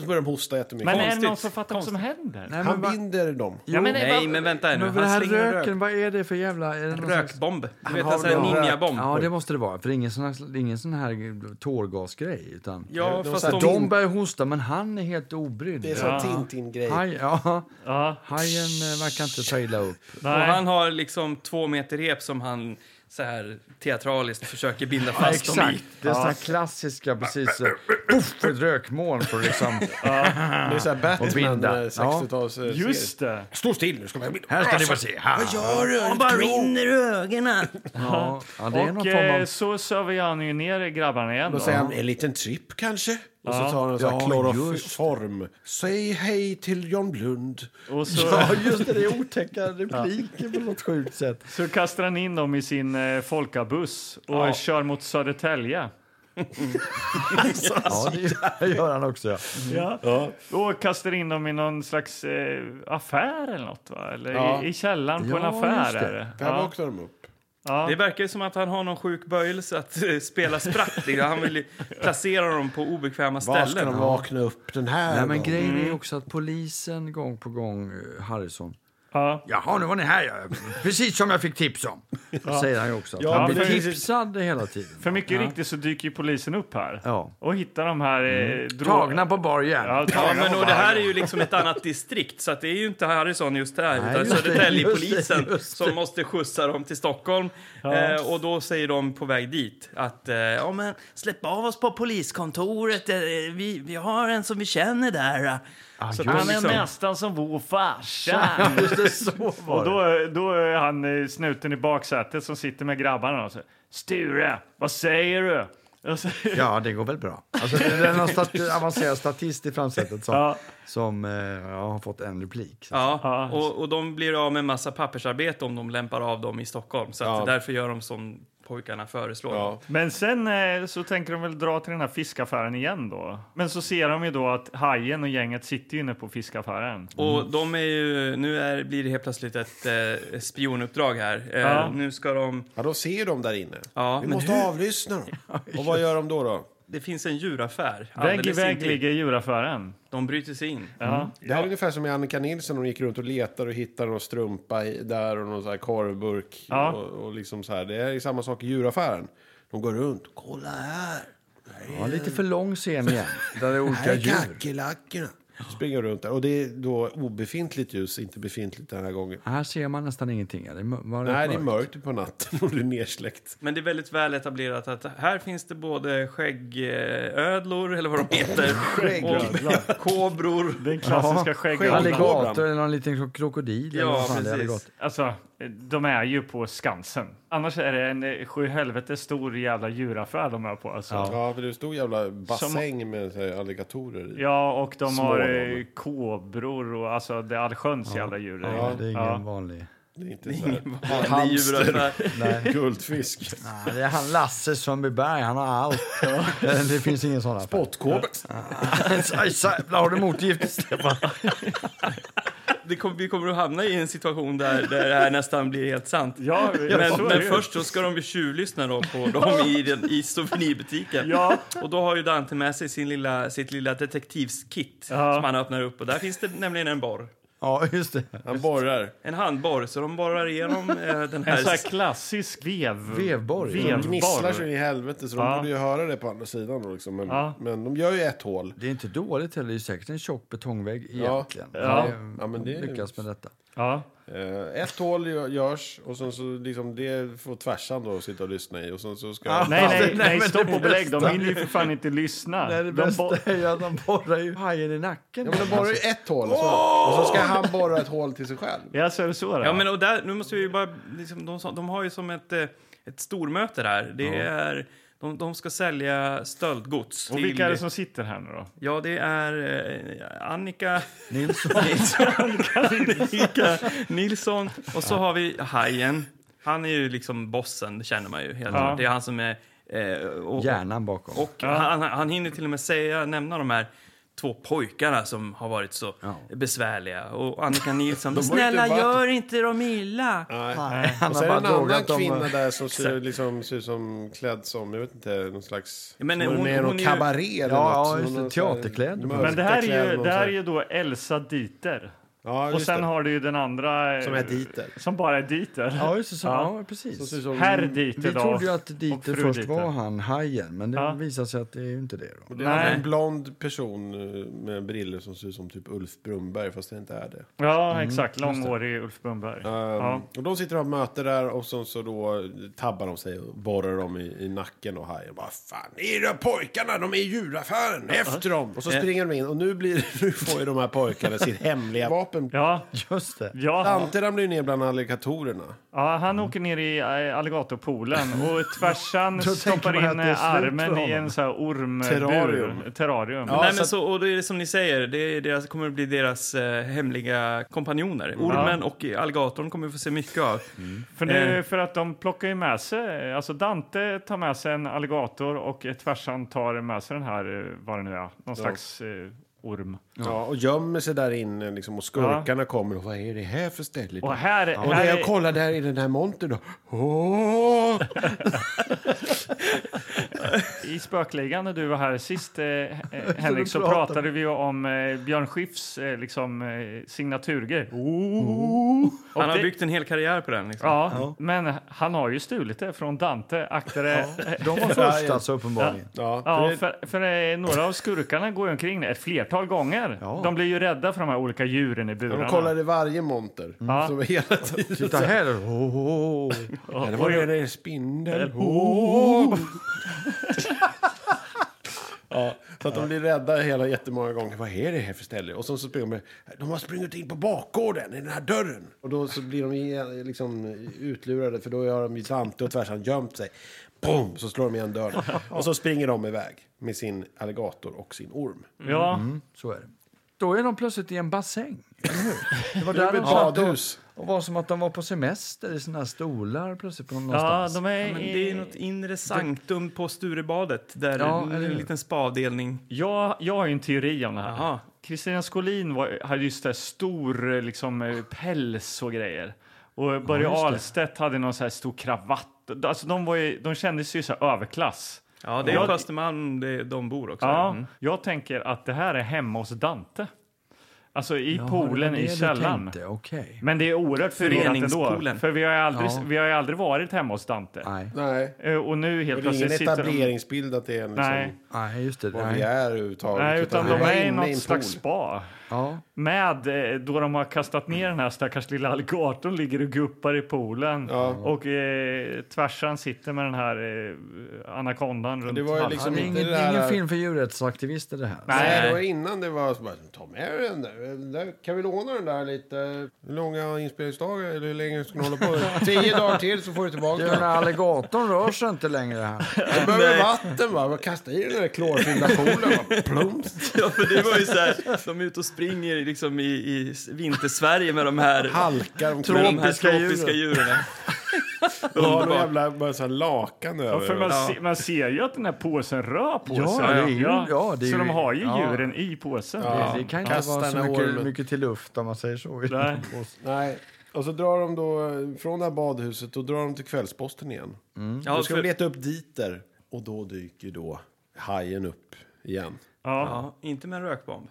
så börjar de hosta jättemycket. Men eh, är det någon Konstigt. som fattar vad som händer? Nej, Han men, va, binder dem. ja, men, eh, Nej, vad- men vänta här nu. men den Han här slänger en rök, röken, vad är det för jävla... Är det någon slags- rökbomb. Du vet, har alltså en någon rök. ninjabomb. Ja, det måste det vara. För det är ingen sån här, det är ingen sån här tårgasgrej. Utan... Ja, fast här, de... De börjar hosta, men han är helt obrydd. Det är sån Tintin-grej. Haj, ja, ja, hajen eh, verkar inte ta illa upp. Och nej. han har liksom två meter rep som han så här teatraliskt försöker binda fast dem i. Det är såna här klassiska, precis, eh, puff, ett rökmoln för liksom... Det är så här Batman, binda. eh, 60-tals... eh, Just det. Stå still nu ska man... Här ska ni få se. Ha. Vad gör du? Är du klok? rinner ur ögonen. Ja, ja, det är någon Och form eh, av... så söver han ju ner grabbarna igen. Då. Då säger han en liten tripp kanske. Och så tar han en sån här Ja, kloroform. Säg hej till John Blund. Och så, Ja, just det. Det är otäcka repliker på något sjukt sätt. så kastar han in dem i sin eh, folkabuss och kör mot Södertälje. Ja, det gör han också. Ja. Ja. Och kastar in dem i någon slags eh, affär eller något, va? Eller Ja. i, i källaren på en Ja, just affär. det. Är det. Där Ja. vaknar de upp. Det verkar ju som att han har någon sjuk böjelse att eh, spela spratt. i. Han vill ju placera dem på obekväma Var ska de ställen. vakna upp den här Nej, men gången? grejen är ju också att polisen gång på gång, eh, Harrison... Ja. Jaha, nu var ni här ja. Precis som jag fick tips om. Säger han ju också. Att Ja, han blir precis. tipsad hela tiden. För mycket riktigt så dyker ju polisen upp här Ja. Mm. och hittar de här... Eh, dro- Tagna på bar igen. Ja, Ja, tagna men på och det här barnen. är ju liksom ett annat distrikt, så att det är ju inte Harrison just där, Nej, utan just det, just det, Södertäljepolisen just det. som måste skjutsa dem till Stockholm. Eh, och då säger de på väg dit att eh, ja, men släpp av oss på poliskontoret, eh, vi, vi har en som vi känner där. Ah, Så att just han Han är liksom, nästan som vår farsa. Ja, just det, så var Och det. då, då är han eh, snuten i baksätet som sitter med grabbarna och säger Sture, vad säger du? Och så, Ja, det går väl bra. Alltså, det är någon stat avancerad statist i framsätet som, Ja. som eh, ja, har fått en replik. Så. ja, och, och de blir av med en massa pappersarbete om de lämpar av dem i Stockholm, så att Ja. därför gör de som pojkarna föreslår. Ja. Men sen eh, så tänker de väl dra till den här fiskaffären igen då. Men så ser de ju då att Hajen och gänget sitter ju inne på fiskaffären. Och de är ju, nu är, blir det helt plötsligt ett eh, spionuppdrag här. Eh, Ja. Nu ska de... Ja, de ser de där inne. Ja, Vi men måste avlyssna dem. Och vad gör de då? då? Det finns en djuraffär. Vägg i alldeles vägg intill. ligger djuraffären. De bryter sig in. Ja. Det här är ungefär som med Annika Nilsson. Hon gick runt och letade och hittade någon strumpa i, där och någon så här korvburk. Ja. Och, och liksom så här. Det är samma sak i djuraffären. De går runt. Kolla här! Ja, lite för lång scen igen, där det är olika Här är djur. kackerlackorna. Springer runt där. Och det är då obefintligt ljus, inte befintligt den här gången. Här ser man nästan ingenting. ja. Det är mör- var det Nej, det är mörkt? mörkt på natten och det är nersläckt. Men det är väldigt väl etablerat att här finns det både skäggödlor, eller vad de heter, och kobror. Den klassiska ja. skäggödlan. Alligator eller någon liten krokodil. eller Ja, vad fan det precis. hade gått. Alltså, de är ju på Skansen. Annars är det en eh, sjuhelvete stor jävla djuraffär de är på. Alltså. Ja. Ja, för det är en stor jävla bassäng med så här, alligatorer i. och de Små har de. eh, kobror och alltså det är allsköns jävla djur. Ja, det är ingen Ja. vanlig... Det är inte så här Hamster. guldfisk. Nej, det är han Lasse Sundbyberg, han har allt. Eh, det finns ingen sån affär. Spottkåpor. Jävlar, har du motgift, Stefan? Det kom, vi kommer att hamna i en situation där, där det här nästan blir helt sant. Ja, Men, så är men det ju. först så ska de ju tjuvlyssna då på dem i, den, i souvenirbutiken. Ja, Och då har ju Dante med sig sin lilla, sitt lilla detektivskit Ja. som han öppnar upp och där finns det nämligen en borr. Ja, just det. Han borrar. En handborr, så de borrar igenom eh, den en här... sån här klassisk vev... Vevborg. Vev. De gnisslar så in i helvete så de Ja. borde ju höra det på andra sidan. Då, liksom. men, Ja. men de gör ju ett hål. Det är inte dåligt heller. Det är säkert en tjock betongvägg Ja. egentligen. Ja. Det- Ja, men det- Lyckas med detta. Ja. Eh, ett hål gö- görs och sen så liksom det får tvärsan då sitta och lyssna i och sen så ska... Nej, nej, men nej, det stopp och belägg. De bästa- hinner ju för fan inte lyssna. Nej, det de bästa bo- är ju att de borrar ju hajen i nacken. Alltså, Ja, men de borrar ju ett hål och så, och så ska han borra ett hål till sig själv. ja, så är det så då? Ja, men och där, nu måste vi ju bara... Liksom, de, de har ju som ett, eh, ett stormöte där. Det är... De, de ska sälja stöldgods. och vilka är det som sitter här nu då? Ja, det är eh, Annika... Nilsson. Nilsson. Annika Nilsson. Och så har vi Hajen. Han är ju liksom bossen, det känner man ju. Helt klart. Det är han som är... Eh, och, Hjärnan bakom. och han, han hinner till och med säga, nämna de här två pojkarna som har varit så Ja. besvärliga. Och Annika Nilsson, har ju inte snälla varit- gör inte dem illa. Nej, han Och så är det en annan drogat dem. kvinna där som ser, liksom, ser ut som klädd som, jag vet inte, någon slags... Men hon- som är någon hon är ju- kabaré eller Ja, något. ja, Hon just det, har någon sån här teaterkläder. mörka Men det här är kläder ju, och det här så är ju då Elsa Dieter. Ja, Och just sen det. har du ju den andra... eh, Som är Dieter. Som bara är Dieter. Ja, just det. Så, Ja. ja. precis. Som- Herr Dieter Vi då. trodde ju att och Dieter fru först Dieter. var han, hajen, men det Ja. visar sig att det är ju inte det. Då. Och det är Nej. en blond person eh, med briller som ser ut som typ Ulf Brumberg, fast det inte är det. Ja, exakt. Långhårig Ulf Brunberg. Ehm, Ja. Och de sitter och har möte där och sen så då tabbar de sig och borrar dem i, i nacken och hajen. Vad fan, era pojkarna, de är i djuraffären, efter dem! Och så springer de in och nu, blir, nu får ju de här pojkarna sitt hemliga vapen. Ja, Just det. ja, Dante ramlar ju ner bland alligatorerna. ja, han åker ner i eh, alligatorpoolen och tvärsan Då tänker stoppar man in att det är eh, slut för armen i honom. en sån här ormbur. Terrarium. Terrarium. Ja, Nej, så men att- så, och det är som ni säger, det är deras, kommer att bli deras eh, hemliga kompanjoner. Ormen och alligatorn kommer vi få se mycket av. För, nu, Eh. för att de plockar ju med sig, alltså Dante tar med sig en alligator och eh, tvärsan tar med sig den här, eh, vad det nu är, någon slags eh, orm. Ja, och gömmer sig där inne liksom, och skurkarna kommer. Och, Vad är det här för ställe? Och här, Och här när är, jag kollar där i den här montern då. Åh! i spökligan när du var här sist, eh, eh, Henrik, så pratade vi ju om eh, Björn Skifs eh, liksom, eh, signaturgrej. Och Han har det- byggt en hel karriär på den. Liksom. Ja, men han har ju stulit det från Dante. Akta det. De var först alltså, uppenbarligen. Ja, Ja, det- för, för eh, några av skurkarna går ju omkring det ett flertal gånger. Ja. De blir ju rädda för de här olika djuren i burarna. De kollar i varje monter. Ja. Så hela tiden. Titta här! Oh, oh, oh. Och- Det och- var det där spindel. Oh! Ja, så att de blir rädda hela jättemånga gånger. Vad är det här för ställe? Och sen så springer de De har sprungit in på bakgården i den här dörren. Och då så blir de igen- liksom utlurade för då har de ju Dante och tvärsan gömt sig. Boom! Så slår de igen dörren. Och så springer de iväg med sin alligator och sin orm. Ja, Så är det. Då är de plötsligt i en bassäng. eller hur? Det var där Det är de ett satt och, badhus. och var som att de var på semester i sina här stolar plötsligt på ja någonstans. de är... Men det är något inre sanktum på Sturebadet, där Ja, en, eller hur? liten spaavdelning. jag, jag har ju en teori om det här. Jaha. Kristina Skolin var, hade just det stor eh, liksom, eh, päls och grejer. Och Börje Ahlstedt hade någon så här stor kravatt. Alltså, de, var ju, de kändes ju så här överklass. Ja, det är Ja. på Östermalm det- de bor också. Ja, Mm. Jag tänker att det här är hemma hos Dante. Alltså i Jaha, det poolen var i det du källaren. Mm. tänkte, Okej. Men det är oerhört förvirrat ändå. Föreningspoolen. För vi har, ju aldrig, Ja. vi har ju aldrig varit hemma hos Dante. Nej. Nej. Eh, Och nu helt Och det är ingen plötsligt sitter de... etableringsbild att det är en liksom, Nej, Nej, just det. vad vi Nej. är överhuvudtaget. nej, utan de vi är i inne en något slags pool. spa. Ja. Med eh, då de har kastat ner den här stackars lilla alligatorn ligger och guppar i poolen. Och eh, tvärsan sitter med den här eh, anakondan runt det var ju halsen. liksom- Ja, det är inte ingen, det här- ingen film för djurrättsaktivister det här. Nej. Nej, det var innan det var så bara, ta med den där. den där, kan vi låna den där lite? Hur långa inspelningsdagar, eller hur länge ska ni hålla på? Tio dagar till så får du tillbaka Du, den den. här alligatorn rör sig inte längre här. Du behöver vatten va? Kasta i den där klorfyllda poolen. va? Plums. Ja, för det var ju så här, de är ute och springer liksom i, i vintersverige med de här Halkar med de omkring. här tropiska djuren. Har någon Underbart. jävla bara så här lakan Ja, över. för man, se, man ser ju att den här påsen rör på Ja, sig. det är ju- ja, det är så ju- de har ju ja. djuren i påsen. Det, det kan inte Kasta vara så den här mycket, ormen. mycket till luft om man säger så. Nej. Nej. Och så drar de då eh, från det här badhuset och drar de till Kvällsposten igen. Ja, då ska för, de leta upp Dieter. Och då dyker då hajen upp igen. Ja, ja, inte med en rökbomb.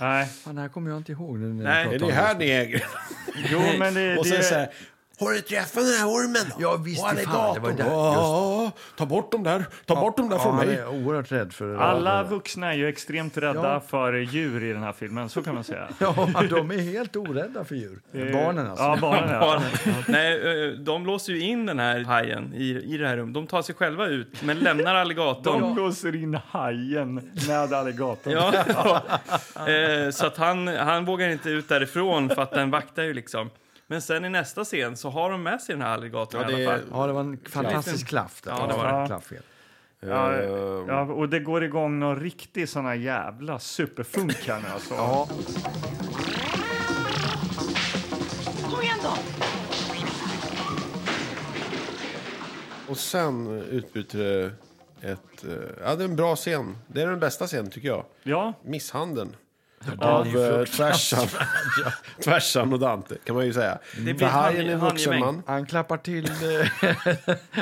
Nej. Fan, det här kommer jag inte ihåg. Nu när Nej. jag Är pratar det om här ni äger? Jo, men det, Och det, sen så här. Har du träffat den här ormen då? Ja, visst, Och det fan, det var alligatorn. där, just. Ja, ta bort dem där. Ta bort dem där Ja, från han mig. är oerhört rädd för det. alla vuxna är ju extremt rädda Ja. för djur i den här filmen, så kan man säga. Ja, de är helt orädda för djur. Barnen alltså. Ja, barnen ja. Nej, eh, de låser ju in den här hajen i, i det här rummet. De tar sig själva ut, men lämnar alligatorn. De blåser in hajen med alligatorn. Ja. Eh, så att han, han vågar inte ut därifrån för att den vaktar ju liksom. Men sen i nästa scen så har de med sig den här alligatorn Ja, det i alla fall. Ja, det var en fantastisk klaff. där. Ja, det var det. Klafffel. Ja, Ehm. ja, Mm. och det går igång någon riktig sån här jävla superfunk här nu alltså. Ja. Kom igen då! Och sen utbryter det ett... eh, Ja, det är en bra scen. Det är den bästa scenen, tycker jag. Ja, Misshandeln. Av eh, Tvärsan. Tvärsan och Dante, kan man ju säga. Det blir För ett Hajen är en handgemäng. vuxen man. Han klappar till... Eh,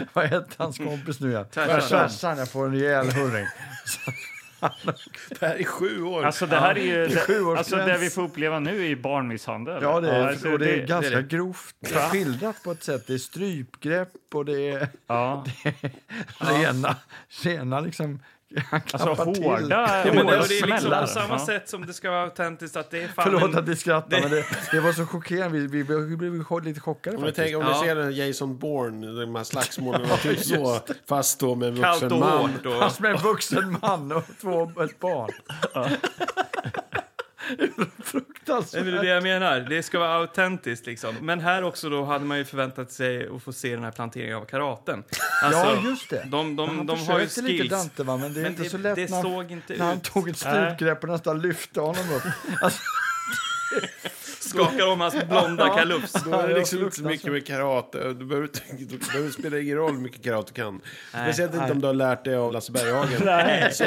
vad heter hans kompis nu igen? Tvärsan. Tvärsan. Jag får en rejäl hurring. Det här är sju år. alltså det här är ju... Det, sjuårsgräns. alltså det vi får uppleva nu är barnmisshandel. Ja, det är, alltså, och det är det- ganska det är det. grovt skildrat på ett sätt. Det är strypgrepp och det är Ja. rena... rena liksom, han klappar Alltså till. Ja, hårda, men det, hårda och det är liksom smällar. på samma Ja. sätt som det ska vara autentiskt att det är fan Förlåt en- att vi skrattar, men det, det var så chockerande. Vi, vi, vi blev cho- lite chockade. Om ni, faktiskt. tänker, om ni Ja. ser den Jason Bourne, de här slagsmålen, och typ så, fast då med en kallt vuxen och man. hårt. Och, Fast med en vuxen man och två, ett barn. det är väl det jag menar. Det ska vara autentiskt. Liksom. Men här också då hade man ju förväntat sig att få se den här planteringen av karaten. Alltså, Ja, just det. De, de, Han de har ju försökte lite skills. Dante, va? men det är Men inte det- så lätt det när, han- såg inte när han ut. tog ett strypgrepp och nästan lyfte honom upp. Alltså, Skakar om hans blonda kalufs. Då är det liksom inte så mycket med karate. Du behöver, inte- du behöver spela ingen roll hur mycket karate du kan. Speciellt inte om du har lärt dig av Lasse Berghagen. Så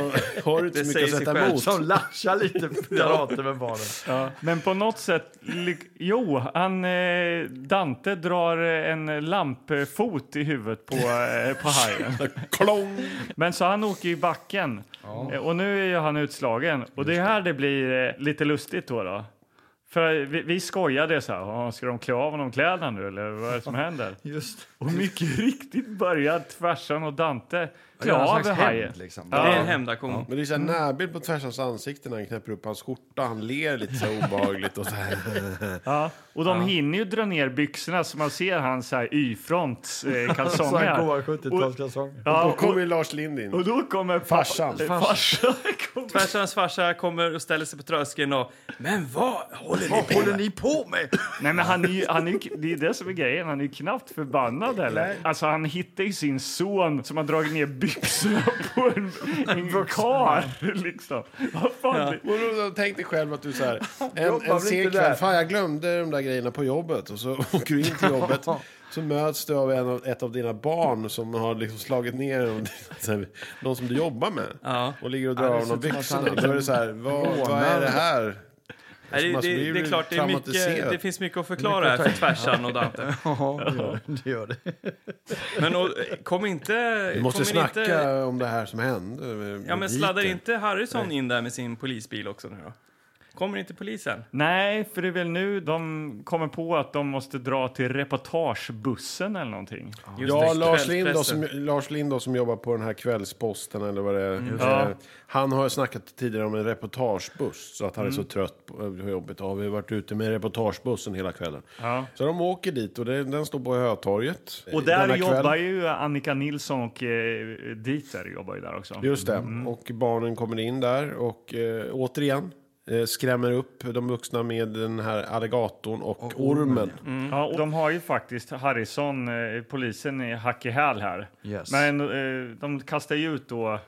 har du inte Det så mycket att säger sig sätta själv. emot. som latchar lite karate med barnen. Ja. Men på något sätt... lik- Jo, han, eh, Dante drar eh, en lampfot i huvudet på, eh, på hajen. Klong! Men så han åker i backen Eh, och nu är ju han utslagen. Och det är här det blir eh, lite lustigt då. då. För vi, vi skojade så här, "Åh, ska de klä av honom kläderna nu eller vad är det som händer? Just Och mycket riktigt börjar Tvärsan och Dante klä någon av slags hajen. hämnd, liksom. Det är Ja. en hämndaktion. Men det är så här närbild på Tvärsans ansikte när han knäpper upp hans skjorta. Han ler lite så här obehagligt och så här. Ja. Och de hinner ju dra ner byxorna så man ser hans så här Y-fronts eh, Så kalsonger. han går och, 70-talskalsonger. ja, Då och, kommer Lars Lind in. och då kommer pappa- Farsan. eh, farsan. kommer- Tvärsans farsa kommer och ställer sig på tröskeln och... Men vad håller ni Vad håller ni på med? Nej, men han är ju, han är ju, det är det som är grejen. Han är ju knappt förbannad eller? Alltså, han hittar ju sin son som har dragit ner byxorna på en, en kar liksom. Vad fan? Och då- då Tänk dig själv att du så här, en, Jobbar en väl inte sen där? kväll, fan jag glömde de där grejerna på jobbet. Och så åker du in till jobbet. Så möts du av, en, av ett av dina barn som har liksom slagit ner en- så här, någon som du jobbar med. Ja. Och ligger och drar av honom som att han byxorna. Då är det så här, vad, vad är det här? Nej, det, Alltså, det, blir det är klart, det, är mycket, traumatiserad. det finns mycket att förklara här för Tvärsan och Dante. Ja, det gör det. det, gör det. Men och, kom inte... Vi måste kom snacka Inte, om det här som hände. med- ja, men med sladdar Dieter. inte Harrison in där med sin polisbil också nu då? Kommer inte polisen? Nej, för det är väl nu de kommer på att de måste dra till reportagebussen eller någonting. Just Ja, det, Lars Lind, då, kvällspressen. som, Lars Lind då, som jobbar på den här kvällsposten eller vad det är. Mm. Ja. Eh, Han har ju snackat tidigare om en reportagebuss. Så att han Mm. är så trött på eh, hur jobbigt. Ja, vi har varit ute med reportagebussen hela kvällen. Ja. Så de åker dit och det, den står på Hötorget. Och där denna kväll. jobbar ju Annika Nilsson och eh, Dieter jobbar ju Mm. där också. Just det. Och barnen kommer in där och eh, återigen. eh, skrämmer upp de vuxna med den här alligatorn och, ormen. Ja, och de har ju faktiskt Harrison, eh, polisen, i hack i häl här. Yes. Men eh, de kastar ju ut då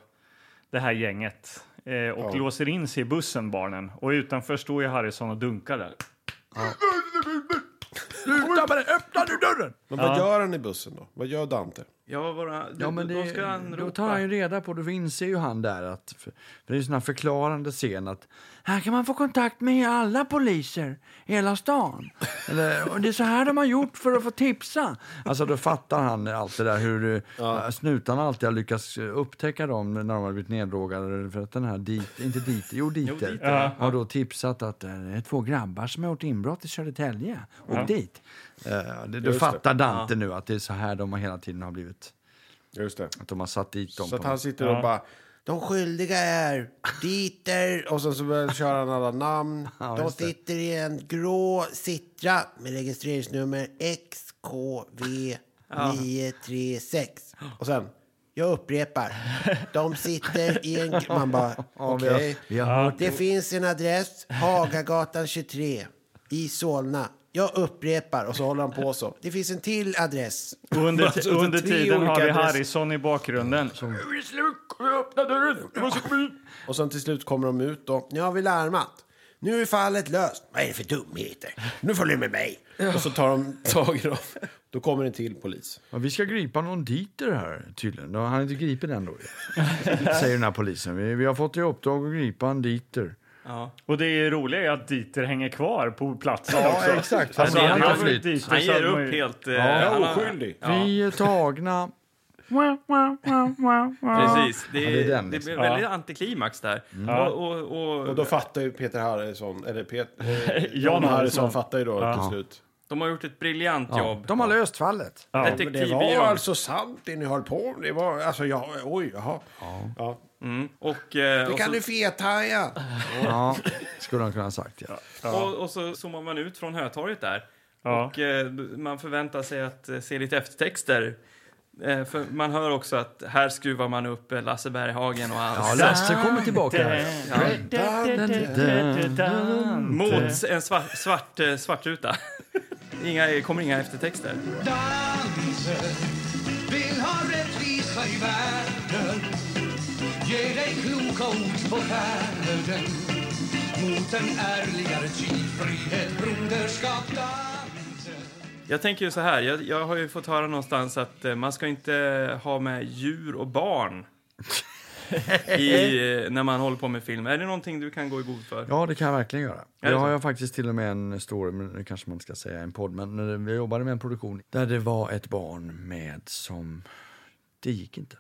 det här gänget eh, och låser in sig i bussen, barnen. Och utanför står ju Harrison och dunkar där. Sluta med det! Öppna nu dörren! Men vad gör han i bussen då? Vad gör Dante? Ja, vad var det? Ja, men då det, ska han då ropa. tar han ju reda på, då inser ju han där att, för, för det är ju sån här förklarande scen att här kan man få kontakt med alla poliser i hela stan. Eller, och det är så här de har gjort för att få tipsa. Alltså då fattar han allt det där hur eh, snutarna alltid har lyckats eh, upptäcka dem när de har blivit neddragade för att den här dit, inte dit, jo diter, Dieter, har då tipsat att eh, det är två grabbar som har gjort inbrott i Södertälje. Och dit. Eh, det, då Just det. fattar Dante nu att det är så här de har hela tiden har blivit Just det. att de har satt dit dem. Så att på- han sitter och bara... De skyldiga är Dieter. Och sen så börjar kör han alla namn. just det. sitter i en grå Citra med registreringsnummer XKV936. Och sen... Jag upprepar. De sitter i en... gr- Man bara, okej. Vi har hört Det finns en adress, Hagagatan 23 i Solna. Jag upprepar, och så håller han på så. Det finns en till adress. Och under, Alltså, under tre tiden har olika vi adresser. Harrison i bakgrunden. Och sen till slut kommer de ut då. Nu har vi larmat. Nu är fallet löst. Vad är det för dumheter? Nu följer du med mig. Och så tar de tag i dem. Då kommer en till polis. Ja, vi ska gripa någon diter här tydligen. Då har Han är inte gripit än då. Säger den här polisen. Vi, vi har fått i uppdrag att gripa en diter. Och det är roliga är att Dieter hänger kvar på platsen också. exakt. Alltså, hade han jag har varit flytt. Dieter så Han ger hade man upp ju- helt. eh, Jag han är har- oskyldig. Vi är tagna. Precis. Det, det är det, den, blir liksom. Mm. väldigt antiklimax där. Och, och, och, Och då fattar ju Peter Harrison, eller Peter... Jan Harrison. Harrison fattar ju då till slut. de har gjort ett briljant jobb. De har löst fallet. Ja, Detektivbyrån. Det var alltså sant det ni höll på med. Det var, alltså, ja, oj, jaha. Ja. Och, eh, och, Kan så, du fethaja? Ja, skulle han kunna ha sagt. Ja. och, och så zoomar man ut från Hötorget där. Ja. Och eh, man förväntar sig att eh, se lite eftertexter. Eh, för man hör också att här skruvar man upp eh, Lasse Berghagen och Ja, hans... Lasse kommer tillbaka. här. mot en svart, svart, eh, svartruta. Inga, kommer inga eftertexter. Dante vill ha rättvisa i världen Ge dig kloka ord på färden Mot en ärligare tid Frihet, broderskap, Dante Jag tänker ju så här, jag, jag har ju fått höra någonstans att eh, man ska inte ha med djur och barn i, eh, när man håller på med film. Är det någonting du kan gå i god för? Ja, det kan jag verkligen göra. det Det har så? jag faktiskt till och med en story, men det kanske man inte ska säga i en podd, men men vi jobbade med en produktion där det var ett barn med som... Det gick inte.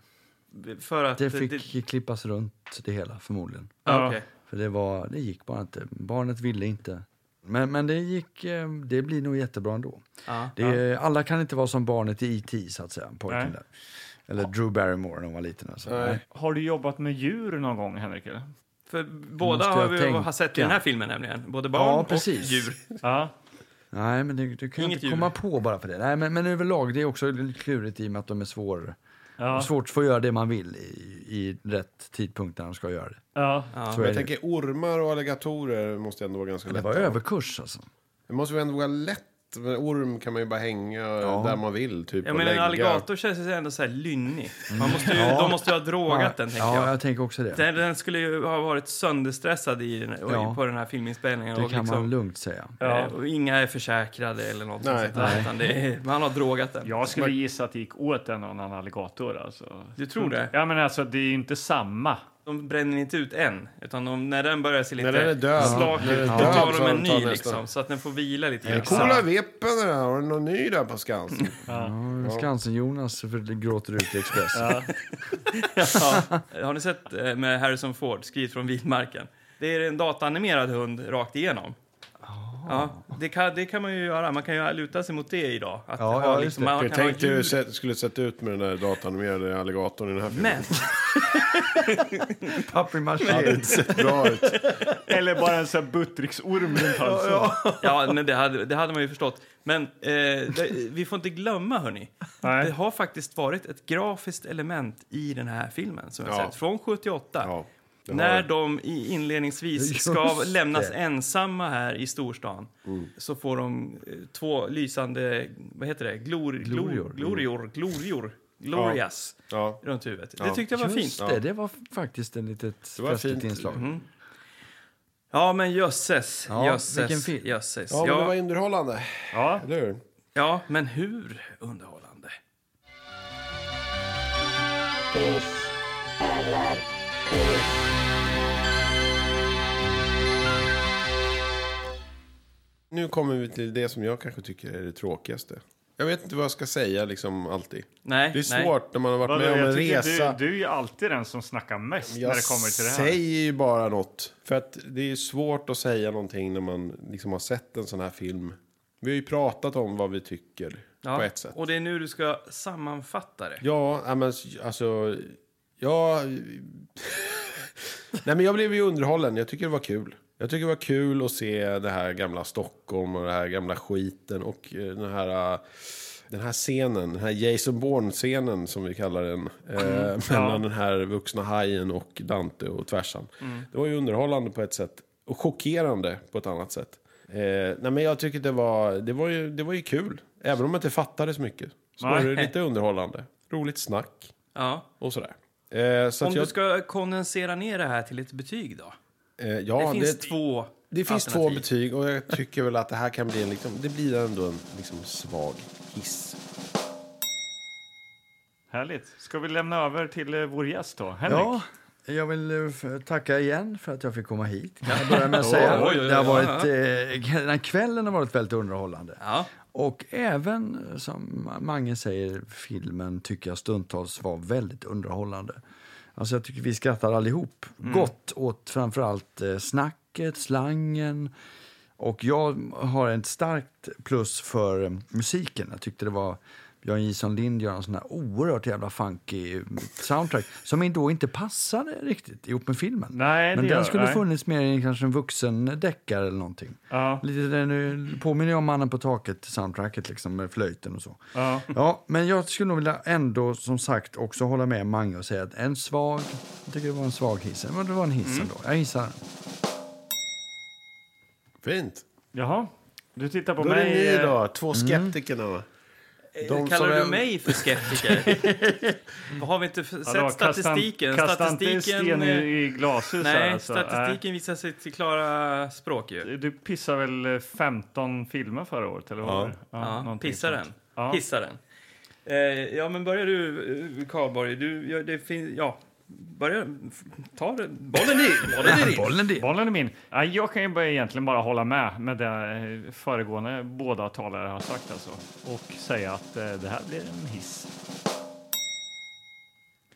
För att... Det eh, fick klippas runt det hela förmodligen. ja, okej. För det, var, det gick bara inte. Barnet ville inte. Men, men det gick, eh, det blir nog jättebra ändå. Ja. Det, är- Alla kan inte vara som barnet i E.T. så att säga, pojken Nej. där. Eller Drew Barrymore när hon var liten. Alltså. Nej. Har du jobbat med djur någon gång, Henrik? Eller? För båda måste har jag vi tänka. har sett i den här filmen nämligen. Både barn Ja, och precis. djur. Ja. Nej, men du, du kan Inget inte djur. komma på bara för det. Nej, men, men överlag, det är också lite klurigt i och med att de är svår, Ja. svårt att få göra det man vill i, i rätt tidpunkt när de ska göra det. Ja. Så Jag är det. tänker ormar och alligatorer måste ändå vara ganska det lätt. var överkurs alltså. Det måste väl ändå vara lätt. Men orm kan man ju bara hänga där man vill. Typ, Jag och menar en lägga. alligator känns ju ändå så här lynnig. Man måste ju, De måste ju ha drogat den tänker Mm. ja, jag. jag tänker också det. Den, den skulle ju ha varit sönderstressad i, den- och- Ja. på den här filminspelningen. Det och kan liksom, man lugnt säga. eh, Och inga är försäkrade eller något Nej. sånt där. Utan det är, man har drogat den. Jag skulle gissa att det gick åt en och annan alligator. Alltså. Du tror det? Ja, men alltså, det är ju inte samma. De bränner inte ut en, utan de, när den börjar se lite När den är död. slak När den ut, är då död tar så de en tar de ny nästa. liksom, så att den får vila lite grann. Coola veppen det där. Har du någon ny där på Skansen? Skansen-Jonas för det gråter ut i Expressen. Ja. Har ni sett eh, med Harrison Ford, skrivet från vildmarken? Det är en dataanimerad hund rakt igenom. Ah. Ja, det, kan, det kan man ju göra. Man kan ju luta sig mot det idag. Att Ja, ha ja, just liksom, det. man jag kan ha tänkte hur djur. det se- skulle sett ut med den där datanimerade alligatorn i den här filmen. Men Det hade inte sett bra ut. Eller bara en sån här buttricksorm runt halsen. Ja, men det hade, det hade man ju förstått. Men eh, det, vi får inte glömma, hörni. Nej. Det har faktiskt varit ett grafiskt element i den här filmen. Som jag Ja. sett, från 78. Ja. När de i- inledningsvis Just ska det. lämnas ensamma här i storstan Mm. så får de eh, två lysande, vad heter det, glor, glorior, Glorior. glorior, glorior glorias Ja. runt huvudet. Det tyckte jag var Just fint. det, det var faktiskt en litet Det var festligt fint. inslag. Mm. Ja, men jösses, Ja, vilken jösses, film. jösses. Ja, men det var Ja, underhållande. Ja. Eller hur? ja, men hur underhållande? Nu kommer vi till det som jag kanske tycker är det tråkigaste. Jag vet inte vad jag ska säga liksom alltid. Nej, Det är nej. svårt när man har varit Vadå, med om jag en tycker resa. du, du är ju alltid den som snackar mest jag när det kommer till det här. säger ju bara något. För att det är svårt att säga någonting när man liksom har sett en sån här film. Vi har ju pratat om vad vi tycker på ett sätt. Och det är nu du ska sammanfatta det. Ja, ja, men alltså... Ja... Nej, men jag blev ju underhållen. Jag tycker det var kul. Jag tycker det var kul att se det här gamla Stockholm och den här gamla skiten och eh, den här, eh, den här scenen, den här Jason Bourne-scenen som vi kallar den. Eh, mellan den här vuxna hajen och Dante och tvärsan. Det var ju underhållande på ett sätt och chockerande på ett annat sätt. Eh, nej, men jag tycker det var, det, var ju, det var ju kul, även om jag inte fattade så mycket. Så var det Nej. lite underhållande, roligt snack Ja. och sådär. Eh, så Om att jag, du ska kondensera ner det här till ett betyg då? eh, ja, Det finns det, två det finns två alternativ. betyg och jag tycker väl att det här kan bli en, liksom, det blir ändå en liksom, svag hiss. Härligt. Ska vi lämna över till eh, vår gäst då? Henrik? Ja, jag vill eh, f- tacka igen för att jag fick komma hit. Kan Jag börjar med att säga. Oj, oj, oj, det har ja, varit, eh, den här kvällen har varit väldigt underhållande. Ja. Och även, eh, som Mange säger, filmen tycker jag stundtals var väldigt underhållande. Alltså jag tycker vi skrattar allihop Mm. gott åt framförallt eh, snacket, slangen. Och jag har ett starkt plus för eh, musiken. Jag tyckte det var Björn Jison Lind gör en sån här oerhört jävla funky mm, soundtrack som då inte passade riktigt ihop med filmen. Nej, det Men gör- den skulle nej. funnits mer i kanske en vuxen deckare eller någonting. Ja. Lite den påminner ju om Mannen på taket, soundtracket liksom med flöjten och så. Ja. Ja, men jag skulle nog vilja ändå som sagt också hålla med Mange och säga att en svag, jag tycker det var en svag hiss, men det var en Mm. hiss ändå. Jag hissar den. Fint. Jaha. Du tittar på Då är det mig. ni eh, då, två Mm. skeptikerna. De Eh, Kallar som du är- mig för skeptiker? Har vi inte f- hallå, sett statistiken? Kasta, kasta inte sten statistiken i, eh, i glashus här, nej, alltså. statistiken visar sig till klara språk ju. Nej. Du pissar väl eh, 15 filmer förra året? Eller vad var det? Ja, någonting pissa sånt. den. Ja. Hissa den. Eh, ja, men börjar du, eh, Karlborg. Du, ja, det finns... Ja. Börja... f- Ta det. Bollen i! Bollen i! Bollen dit. Bollen är min. Ja, Jag kan ju bara egentligen bara hålla med med det eh, föregående båda talare har sagt alltså. Och säga att eh, det här blir en hiss.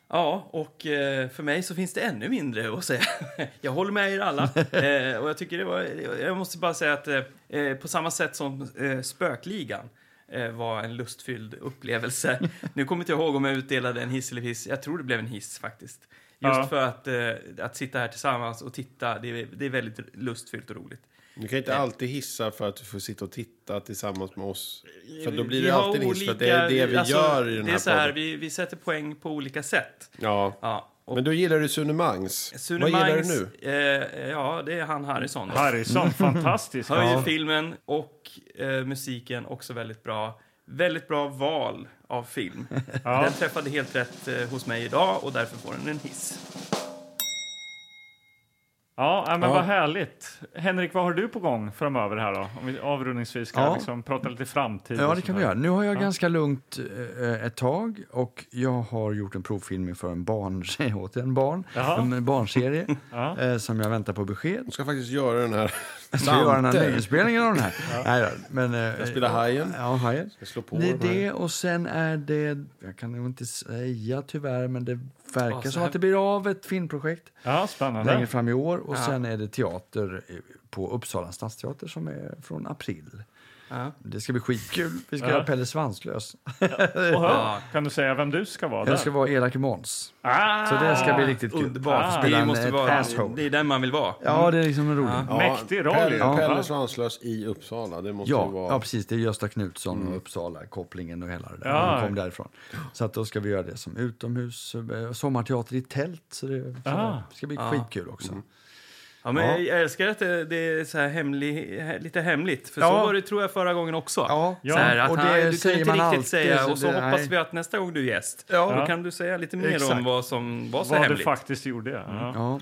Ja, och eh, för mig så finns det ännu mindre att säga. Jag håller med er alla. Eh, Och jag tycker det var... Jag måste bara säga att eh, på samma sätt som eh, Spökligan eh, var en lustfylld upplevelse. Nu kommer inte jag ihåg om jag utdelade en hiss eller hiss. Jag tror det blev en hiss faktiskt. Just Ja. för att, eh, att sitta här tillsammans och titta, det är, det är väldigt lustfyllt och roligt. Du kan inte alltid hissa för att du får sitta och titta tillsammans med oss. För då blir Vi det har alltid en hiss för att det är olika- det vi alltså, gör i den det är här så här, podden. vi, vi sätter poäng på olika sätt. Ja. Ja, och Men då gillar du Sune Mangs. Sune Vad gillar du Mangs, nu? Eh, ja, det är han Harrison. då. Harrison, fantastisk. Hör ju Ja. filmen och eh, musiken också väldigt bra. Väldigt bra val av film. Ja. Den träffade helt rätt eh, hos mig idag och därför får den en hiss. Ja, ja, men vad härligt. Henrik, vad har du på gång framöver här då? Om vi avrundningsvis ska Ja. liksom prata lite framtid. Ja, och det sånt kan vi där. göra. Nu har jag ganska lugnt eh, ett tag och jag har gjort en provfilm inför en barn, återigen barn, Jaha. en barnserie Ja. eh, som jag väntar på besked. De ska faktiskt göra den här. Ska vi göra den här nyinspelningen av den här? Nej, då, men, eh, jag spelar Hajen. Ja, hajen. Jag slår på Det är den här. det och sen är det, jag kan nog inte säga tyvärr, men det verkar så som här- att det blir av ett filmprojekt Ja, spännande. längre fram i år. Och sen är det teater eh, på Uppsala stadsteater som är från april. Det ska bli skitkul. Vi ska göra Pelle Svanslös. Oha, kan du säga vem du ska vara där? Jag ska vara elake Måns. ah, Så det ska bli riktigt kul. Underbart. Att spela Ah. det, en, eh, måste ett vara, asshole. det är den man vill vara. Ja, det är liksom en rolig. Ja, Mäktig roll. Pelle, Ja. Pelle Svanslös i Uppsala. Det måste ju ja, vara... precis. Det är Gösta Knutsson och Uppsala, kopplingen och hela det där. Mm. Ja. Han kom därifrån. Så att då ska vi göra det som utomhus, eh, sommarteater i tält. Så det, så Ah. Mm. det ska bli skitkul också. Ja, men Ja. Jag älskar att det, det är så här hemlig, he- lite hemligt. För Ja. så var det tror jag förra gången också. Ja. Så här, att Och det han, du kunde säger inte man riktigt alltid, säga så och så det- hoppas nej. vi att nästa gång du är gäst, Ja. då kan du säga lite mer Exakt. om vad som var så Vad du hemligt. faktiskt gjorde. Ja. Mm. Ja.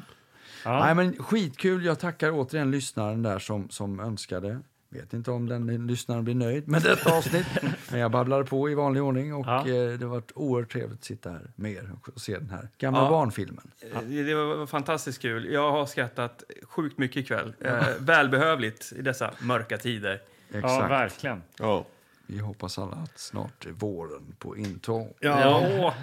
Ah. Nej, men skitkul. Jag tackar återigen lyssnaren där som, som önskade. Vet inte om den lyssnaren blir nöjd med detta avsnitt. men jag babblade på i vanlig ordning och Ja. eh, det har varit oerhört trevligt att sitta här med er och se den här Ah. gamla barnfilmen. Eh, Det det var fantastiskt kul. Jag har skrattat sjukt mycket ikväll. Eh, välbehövligt i dessa mörka tider. Exakt. ja, Ah, verkligen. Ja. Vi hoppas alla att snart är våren på intåg. Ja. åh.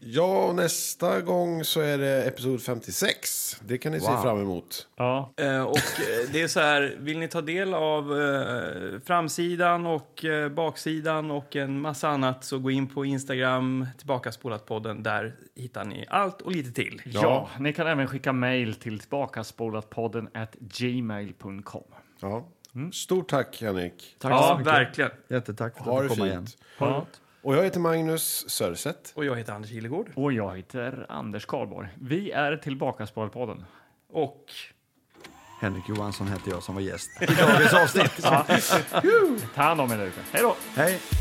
Ja, och nästa gång så är det episod 56. Det kan ni se Wow. fram emot. Ja. Eh, och eh, det är så här, vill ni ta del av eh, framsidan och eh, baksidan och en massa annat så gå in på Instagram, Tillbakaspolat-podden. Där hittar ni allt och lite till. Ja. ni kan även skicka mejl till tillbakaspolatpodden at gmail.com. Ja. Stort tack, Henrik. Mm. Tack Ah. så Ja, mycket. verkligen. Jättetack för Ha det att du kom fint. igen. Ja. Och jag heter Magnus Sörset. Och jag heter Anders Gillegård. Och jag heter Anders Karlborg. Vi är Tillbakaspolatpodden. Och Henrik Johansson heter jag som var gäst i dagens avsnitt. Ta hand om er där ute. Hej då! Hej!